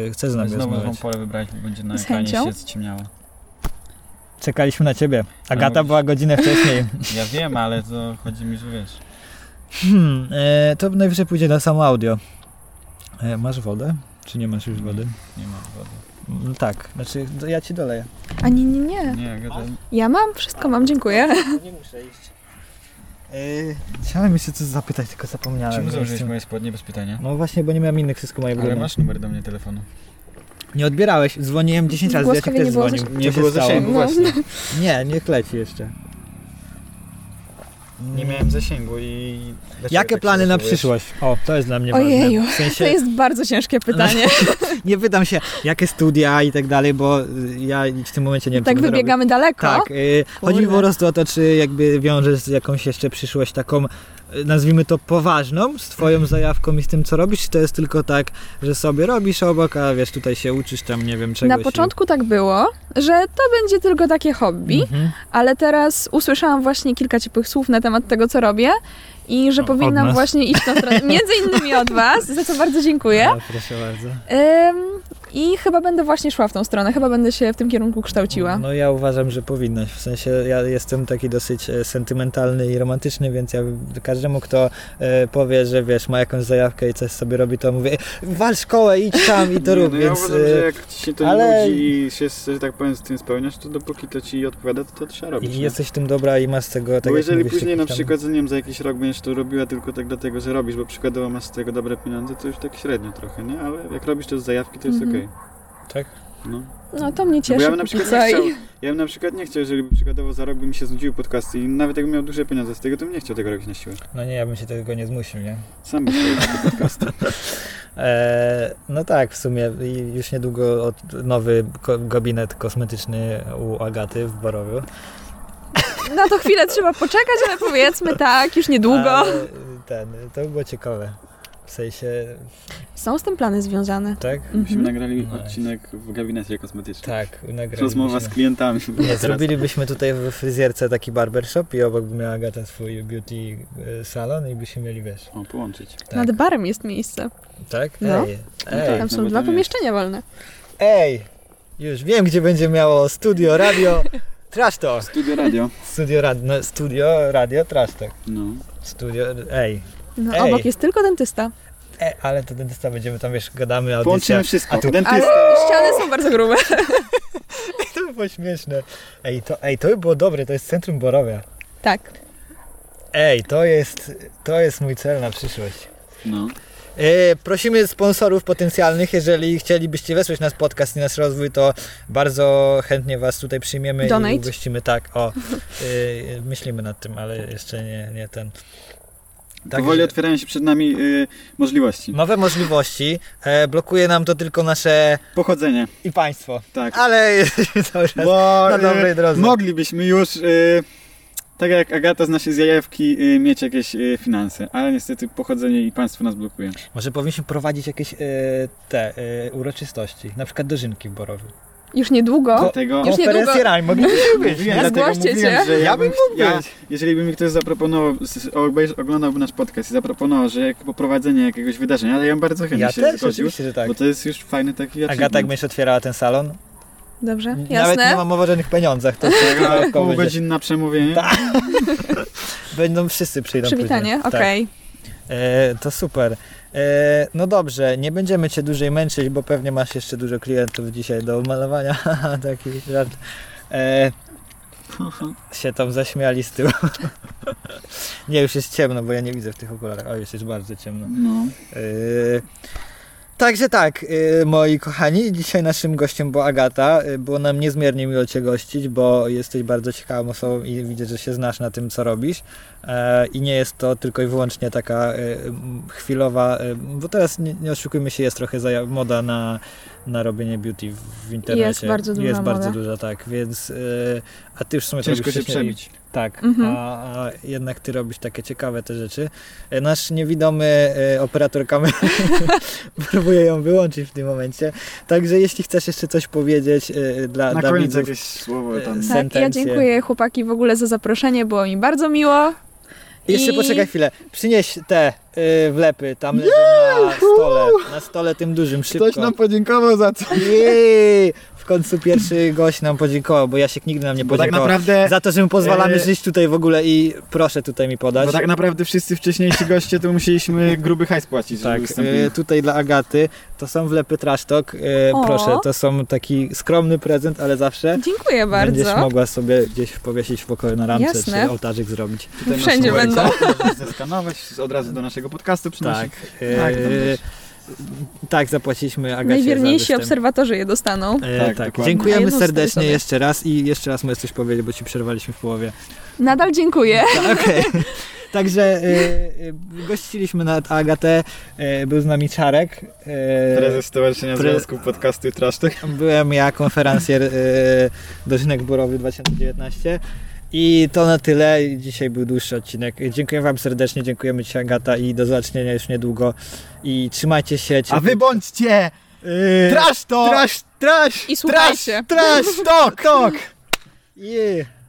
[SPEAKER 2] y, chcesz z nami
[SPEAKER 1] Znowu nową
[SPEAKER 2] rozmawiać.
[SPEAKER 1] pole wybrać, bo będzie na
[SPEAKER 3] Z
[SPEAKER 1] ekranie
[SPEAKER 3] chęcią.
[SPEAKER 1] się zciemniało.
[SPEAKER 2] Czekaliśmy na ciebie. Agata
[SPEAKER 1] No.
[SPEAKER 2] była godzinę wcześniej.
[SPEAKER 1] Ja wiem, ale to chodzi mi, że wiesz.
[SPEAKER 2] Hmm, y, to najwyżej pójdzie na samo audio. E, masz wodę? Czy nie masz już wody?
[SPEAKER 1] Nie ma wody.
[SPEAKER 2] Mm, tak, znaczy to ja ci doleję.
[SPEAKER 3] A nie, nie, nie.
[SPEAKER 1] Nie,
[SPEAKER 2] Tak.
[SPEAKER 1] gadam.
[SPEAKER 3] Ja mam, wszystko mam, dziękuję.
[SPEAKER 2] Nie muszę iść. E, Chciałem jeszcze coś zapytać, tylko zapomniałem.
[SPEAKER 1] Czemu
[SPEAKER 2] Nie
[SPEAKER 1] założyłeś
[SPEAKER 2] jestem-
[SPEAKER 1] moje spodnie bez pytania?
[SPEAKER 2] No właśnie, bo nie miałem innych, wszystko moje
[SPEAKER 1] Ale
[SPEAKER 2] brudne.
[SPEAKER 1] masz numer do mnie telefonu.
[SPEAKER 2] Nie odbierałeś, dzwoniłem 10 razy,
[SPEAKER 3] Głoskowie
[SPEAKER 2] Jacek
[SPEAKER 3] nie
[SPEAKER 2] też
[SPEAKER 3] było
[SPEAKER 2] dzwonił.
[SPEAKER 1] Nie
[SPEAKER 2] Co się
[SPEAKER 1] było
[SPEAKER 2] stało?
[SPEAKER 1] zasięgu,
[SPEAKER 3] No.
[SPEAKER 1] właśnie.
[SPEAKER 2] Nie, nie kleci jeszcze.
[SPEAKER 1] Nie miałem zasięgu i... dlaczego
[SPEAKER 2] Mm. Jakie
[SPEAKER 1] tak się
[SPEAKER 2] plany na
[SPEAKER 1] zachowujesz?
[SPEAKER 2] przyszłość? O, to jest dla mnie
[SPEAKER 3] Ojeju,
[SPEAKER 2] ważne. W
[SPEAKER 3] to
[SPEAKER 2] sensie, no,
[SPEAKER 3] jest bardzo ciężkie pytanie.
[SPEAKER 2] Znaczy, nie pytam się, jakie studia i tak dalej, bo y, ja w tym momencie nie wiem,
[SPEAKER 3] tak
[SPEAKER 2] co bym zrobił.
[SPEAKER 3] wybiegamy daleko.
[SPEAKER 2] Tak, y, chodzi mi po
[SPEAKER 3] Kurde.
[SPEAKER 2] prostu o to, czy jakby wiążesz z jakąś jeszcze przyszłość taką, y, nazwijmy to poważną, z
[SPEAKER 3] Mhm.
[SPEAKER 2] twoją zajawką i z tym, co robisz, czy to jest tylko tak, że sobie robisz obok, a wiesz, tutaj się uczysz tam, nie wiem, czegoś.
[SPEAKER 3] Na początku tak było, że to będzie tylko takie
[SPEAKER 2] I...
[SPEAKER 3] hobby,
[SPEAKER 2] Mhm.
[SPEAKER 3] ale teraz usłyszałam właśnie kilka ciepłych słów na temat tego, co robię i że
[SPEAKER 2] O, od
[SPEAKER 3] powinnam
[SPEAKER 2] nas.
[SPEAKER 3] właśnie iść tą stronę, między innymi od was, za co bardzo dziękuję.
[SPEAKER 2] O, No, proszę bardzo.
[SPEAKER 3] Ym, I chyba będę właśnie szła w tą stronę, chyba będę się w tym kierunku kształciła.
[SPEAKER 2] No ja uważam, że powinnaś. W sensie ja jestem taki dosyć e, sentymentalny i romantyczny, więc ja każdemu, kto e, powie, że wiesz, ma jakąś zajawkę i coś sobie robi, to mówię, "E, wal szkołę, idź tam i to
[SPEAKER 1] Nie,
[SPEAKER 2] rób,
[SPEAKER 1] no ja
[SPEAKER 2] więc...
[SPEAKER 1] uważam,
[SPEAKER 2] e,
[SPEAKER 1] że jak ci się to
[SPEAKER 2] ale-
[SPEAKER 1] nudzi i się, że tak powiem, z tym spełniasz, to dopóki to ci odpowiada, to to trzeba robić.
[SPEAKER 2] i
[SPEAKER 1] nie?
[SPEAKER 2] jesteś w tym dobra i masz z tego... Tak
[SPEAKER 1] bo
[SPEAKER 2] jak
[SPEAKER 1] jeżeli
[SPEAKER 2] mówisz,
[SPEAKER 1] później na
[SPEAKER 2] jakiś tam-
[SPEAKER 1] przykład, nie wiem, za jakiś rok będziesz to robiła tylko tak dlatego, że robisz, bo przykładowo masz z tego dobre pieniądze, to już tak średnio trochę, nie? Ale jak robisz to z zajawki, to jest
[SPEAKER 3] Mhm.
[SPEAKER 1] okej.
[SPEAKER 2] Tak?
[SPEAKER 1] No.
[SPEAKER 3] No to mnie
[SPEAKER 1] No
[SPEAKER 3] cieszy.
[SPEAKER 1] bo ja bym na
[SPEAKER 3] póki
[SPEAKER 1] przykład
[SPEAKER 3] co
[SPEAKER 1] nie
[SPEAKER 3] i-
[SPEAKER 1] chciał, ja bym na przykład nie chciał, jeżeli by przykładowo za rok by mi się znudziły podcasty i nawet jakbym miał duże pieniądze z tego, to bym nie chciał tego robić na siłę.
[SPEAKER 2] No nie, ja bym się tego nie zmusił, nie?
[SPEAKER 1] Sam bym chciał robić te podcasty.
[SPEAKER 2] E, no tak, w sumie i już niedługo od, nowy ko- gabinet kosmetyczny u Agaty w Barowiu.
[SPEAKER 3] Na to chwilę trzeba poczekać, ale powiedzmy tak, już niedługo.
[SPEAKER 2] Ale, e, ten, to by było ciekawe. W sensie,
[SPEAKER 3] Są z tym plany związane. Mhm.
[SPEAKER 2] tak?
[SPEAKER 1] Myśmy nagrali
[SPEAKER 2] Nice.
[SPEAKER 1] odcinek w gabinecie kosmetycznym.
[SPEAKER 2] Tak, nagraliśmy.
[SPEAKER 1] Rozmowa z klientami.
[SPEAKER 2] Nie, zrobilibyśmy tutaj w fryzjerce taki barbershop i obok by miała Agata swój beauty e, salon i byśmy mieli, wiesz,
[SPEAKER 1] O, połączyć.
[SPEAKER 2] tak?
[SPEAKER 3] Nad barem jest miejsce.
[SPEAKER 2] tak?
[SPEAKER 3] No.
[SPEAKER 2] Ej,
[SPEAKER 1] tak.
[SPEAKER 2] ej,
[SPEAKER 3] Tam są
[SPEAKER 1] nawet
[SPEAKER 3] dwa
[SPEAKER 1] nie jest.
[SPEAKER 3] pomieszczenia wolne.
[SPEAKER 2] ej! Już wiem, gdzie będzie miało studio, radio, trash talk.
[SPEAKER 1] Studio radio.
[SPEAKER 2] Studio, rad, no, studio, radio, trash talk.
[SPEAKER 1] No.
[SPEAKER 2] Studio, ej.
[SPEAKER 3] No
[SPEAKER 2] Ej.
[SPEAKER 3] obok jest tylko dentysta.
[SPEAKER 2] E, ale to dentysta będziemy tam, wiesz, gadamy audycja.
[SPEAKER 1] Połączymy wszystko.
[SPEAKER 2] A tu-
[SPEAKER 1] Dentysta.
[SPEAKER 3] Ale ściany są bardzo grube.
[SPEAKER 2] To by było śmieszne. Ej to, ej, to by było dobre, to jest centrum Borowia.
[SPEAKER 3] Tak.
[SPEAKER 2] Ej, to jest, to jest mój cel na przyszłość.
[SPEAKER 1] No.
[SPEAKER 2] E, prosimy sponsorów potencjalnych, jeżeli chcielibyście wesprzeć nasz podcast i nasz rozwój, to bardzo chętnie Was tutaj przyjmiemy i
[SPEAKER 3] Donate.
[SPEAKER 2] ugościmy. Tak, o, e, myślimy nad tym, ale jeszcze nie, nie ten. Także-
[SPEAKER 1] Powoli otwierają się przed nami y, możliwości.
[SPEAKER 2] Nowe możliwości, e, blokuje nam to tylko nasze
[SPEAKER 1] Pochodzenie,
[SPEAKER 2] i państwo,
[SPEAKER 1] tak.
[SPEAKER 2] ale jesteśmy cały czas
[SPEAKER 1] Bo
[SPEAKER 2] na
[SPEAKER 1] y,
[SPEAKER 2] dobrej drodze.
[SPEAKER 1] moglibyśmy już, y, tak jak Agata z naszej zjajewki, y, mieć jakieś y, finanse, ale niestety pochodzenie i państwo nas blokuje.
[SPEAKER 2] Może powinniśmy prowadzić jakieś e, te e, uroczystości, na przykład dożynki w Borowie.
[SPEAKER 3] Już niedługo.
[SPEAKER 1] Dlatego
[SPEAKER 3] Już niedługo-
[SPEAKER 2] Konferencje rajm, moglibyśmy być,
[SPEAKER 1] mówiłem,
[SPEAKER 2] nie?
[SPEAKER 3] Zgłoście
[SPEAKER 1] dlatego mówiłem,
[SPEAKER 3] cię.
[SPEAKER 1] że ja
[SPEAKER 2] Ja
[SPEAKER 1] bym,
[SPEAKER 2] bym mógł
[SPEAKER 1] ja,
[SPEAKER 2] być.
[SPEAKER 1] jeżeli by mi ktoś zaproponował, s- s- obejrz- oglądałby nasz podcast i zaproponował, że jak poprowadzenie jakiegoś wydarzenia, ale ja bym bardzo chętnie
[SPEAKER 2] Ja
[SPEAKER 1] się
[SPEAKER 2] też,
[SPEAKER 1] zgodził,
[SPEAKER 2] oczywiście, że tak.
[SPEAKER 1] bo to jest już fajny taki
[SPEAKER 2] Agata, jak
[SPEAKER 1] achievement.
[SPEAKER 2] będziesz otwierała ten salon,
[SPEAKER 3] Dobrze,
[SPEAKER 2] nawet nie
[SPEAKER 3] jasne.
[SPEAKER 2] ma mowy o żadnych pieniądzach, to
[SPEAKER 1] Taka
[SPEAKER 2] tylko
[SPEAKER 1] pół
[SPEAKER 2] będzie.
[SPEAKER 1] godzin na przemówienie.
[SPEAKER 2] Tak. będą wszyscy przyjdą
[SPEAKER 3] Przywitanie,
[SPEAKER 2] później.
[SPEAKER 3] okej.
[SPEAKER 2] Tak. E, to super. E, no dobrze, nie będziemy Cię dłużej męczyć, bo pewnie masz jeszcze dużo klientów dzisiaj do malowania, Haha, taki żart. E, się tam zaśmiali z tyłu. nie, już jest ciemno, bo ja nie widzę w tych okularach. O, już jest bardzo ciemno.
[SPEAKER 1] No.
[SPEAKER 2] Yy, Także tak, yy, moi kochani, dzisiaj naszym gościem była Agata. Yy, Było nam niezmiernie miło Cię gościć, bo jesteś bardzo ciekawą osobą i widzę, że się znasz na tym, co robisz. E, I nie jest to tylko i wyłącznie taka yy, m, chwilowa, yy, bo teraz nie, nie oszukujmy się, jest trochę zaja- moda na, na robienie beauty w, w internecie.
[SPEAKER 3] bardzo duża
[SPEAKER 2] Jest bardzo
[SPEAKER 3] moda.
[SPEAKER 2] duża, tak, więc yy, a Ty już w sumie to
[SPEAKER 1] Ciężko
[SPEAKER 2] robisz
[SPEAKER 1] się
[SPEAKER 2] wcześniej.
[SPEAKER 1] przebić.
[SPEAKER 2] Tak,
[SPEAKER 3] Mhm.
[SPEAKER 2] a, a jednak ty robisz takie ciekawe te rzeczy. E, Nasz niewidomy e, operator kamery próbuje ją wyłączyć w tym momencie. Także jeśli chcesz jeszcze coś powiedzieć e, dla,
[SPEAKER 1] Na
[SPEAKER 2] dla
[SPEAKER 1] koniec
[SPEAKER 2] widzów,
[SPEAKER 1] jakieś słowo tam.
[SPEAKER 2] Tak.
[SPEAKER 3] Tak, ja
[SPEAKER 2] Sentencje.
[SPEAKER 3] dziękuję chłopaki w ogóle za zaproszenie, było mi bardzo miło.
[SPEAKER 2] Jeszcze
[SPEAKER 3] I-
[SPEAKER 2] poczekaj chwilę. Przynieś te y, wlepy, tam leżą na stole, na stole tym dużym, szybko.
[SPEAKER 1] podziękował za to.
[SPEAKER 2] Jej! W końcu pierwszy gość nam podziękował, bo Jasiek nigdy nam nie
[SPEAKER 1] Bo tak
[SPEAKER 2] podziękował.
[SPEAKER 1] naprawdę,
[SPEAKER 2] Za to, że mu pozwalamy
[SPEAKER 1] E,
[SPEAKER 2] żyć tutaj w ogóle i proszę tutaj mi podać.
[SPEAKER 1] bo tak naprawdę wszyscy wcześniejsi goście to musieliśmy gruby hajs płacić, żeby
[SPEAKER 2] Tak,
[SPEAKER 1] wystąpili.
[SPEAKER 2] e, tutaj dla Agaty to są wlepy Trash Talk. E,
[SPEAKER 3] O.
[SPEAKER 2] proszę, to są taki skromny prezent, ale zawsze
[SPEAKER 3] Dziękuję
[SPEAKER 2] będziesz
[SPEAKER 3] bardzo.
[SPEAKER 2] mogła sobie gdzieś powiesić w pokoju na ramce
[SPEAKER 3] Jasne.
[SPEAKER 2] czy ołtarzyk zrobić.
[SPEAKER 1] Tutaj
[SPEAKER 3] wszędzie
[SPEAKER 1] masz
[SPEAKER 3] będą.
[SPEAKER 1] numer, co? Możesz Zeskanować od razu do naszego podcastu
[SPEAKER 2] Tak.
[SPEAKER 1] przynosić.
[SPEAKER 2] E,
[SPEAKER 1] Tak, tam też.
[SPEAKER 2] tak, zapłaciliśmy Agacie
[SPEAKER 3] Najwierniejsi
[SPEAKER 2] za występ.
[SPEAKER 3] obserwatorzy je dostaną.
[SPEAKER 2] E,
[SPEAKER 1] Tak,
[SPEAKER 2] tak,
[SPEAKER 1] dokładnie.
[SPEAKER 3] A
[SPEAKER 2] dziękujemy
[SPEAKER 3] jedną stoi
[SPEAKER 2] serdecznie
[SPEAKER 3] sobie.
[SPEAKER 2] jeszcze raz i jeszcze raz możesz coś powiedzieć, bo ci przerwaliśmy w połowie.
[SPEAKER 3] Nadal dziękuję.
[SPEAKER 2] Tak, Okej. Także e, e, gościliśmy nad Agatę, e, był z nami Czarek. e,
[SPEAKER 1] Prezes Stowarzyszenia
[SPEAKER 2] Pre-
[SPEAKER 1] Związku Podcastu i Trasztek.
[SPEAKER 2] Byłem ja konferencjer y, Dożynek Borowy 2019 i to na tyle. Dzisiaj był dłuższy odcinek. Dziękuję Wam serdecznie, dziękujemy Ci Agata i do zobaczenia już niedługo. I trzymajcie się.
[SPEAKER 1] A wy bądźcie!
[SPEAKER 2] y,
[SPEAKER 1] Trasz to!
[SPEAKER 2] trasz, trasz,
[SPEAKER 3] I słuchajcie.
[SPEAKER 2] trasz, tok, tok. Yeah.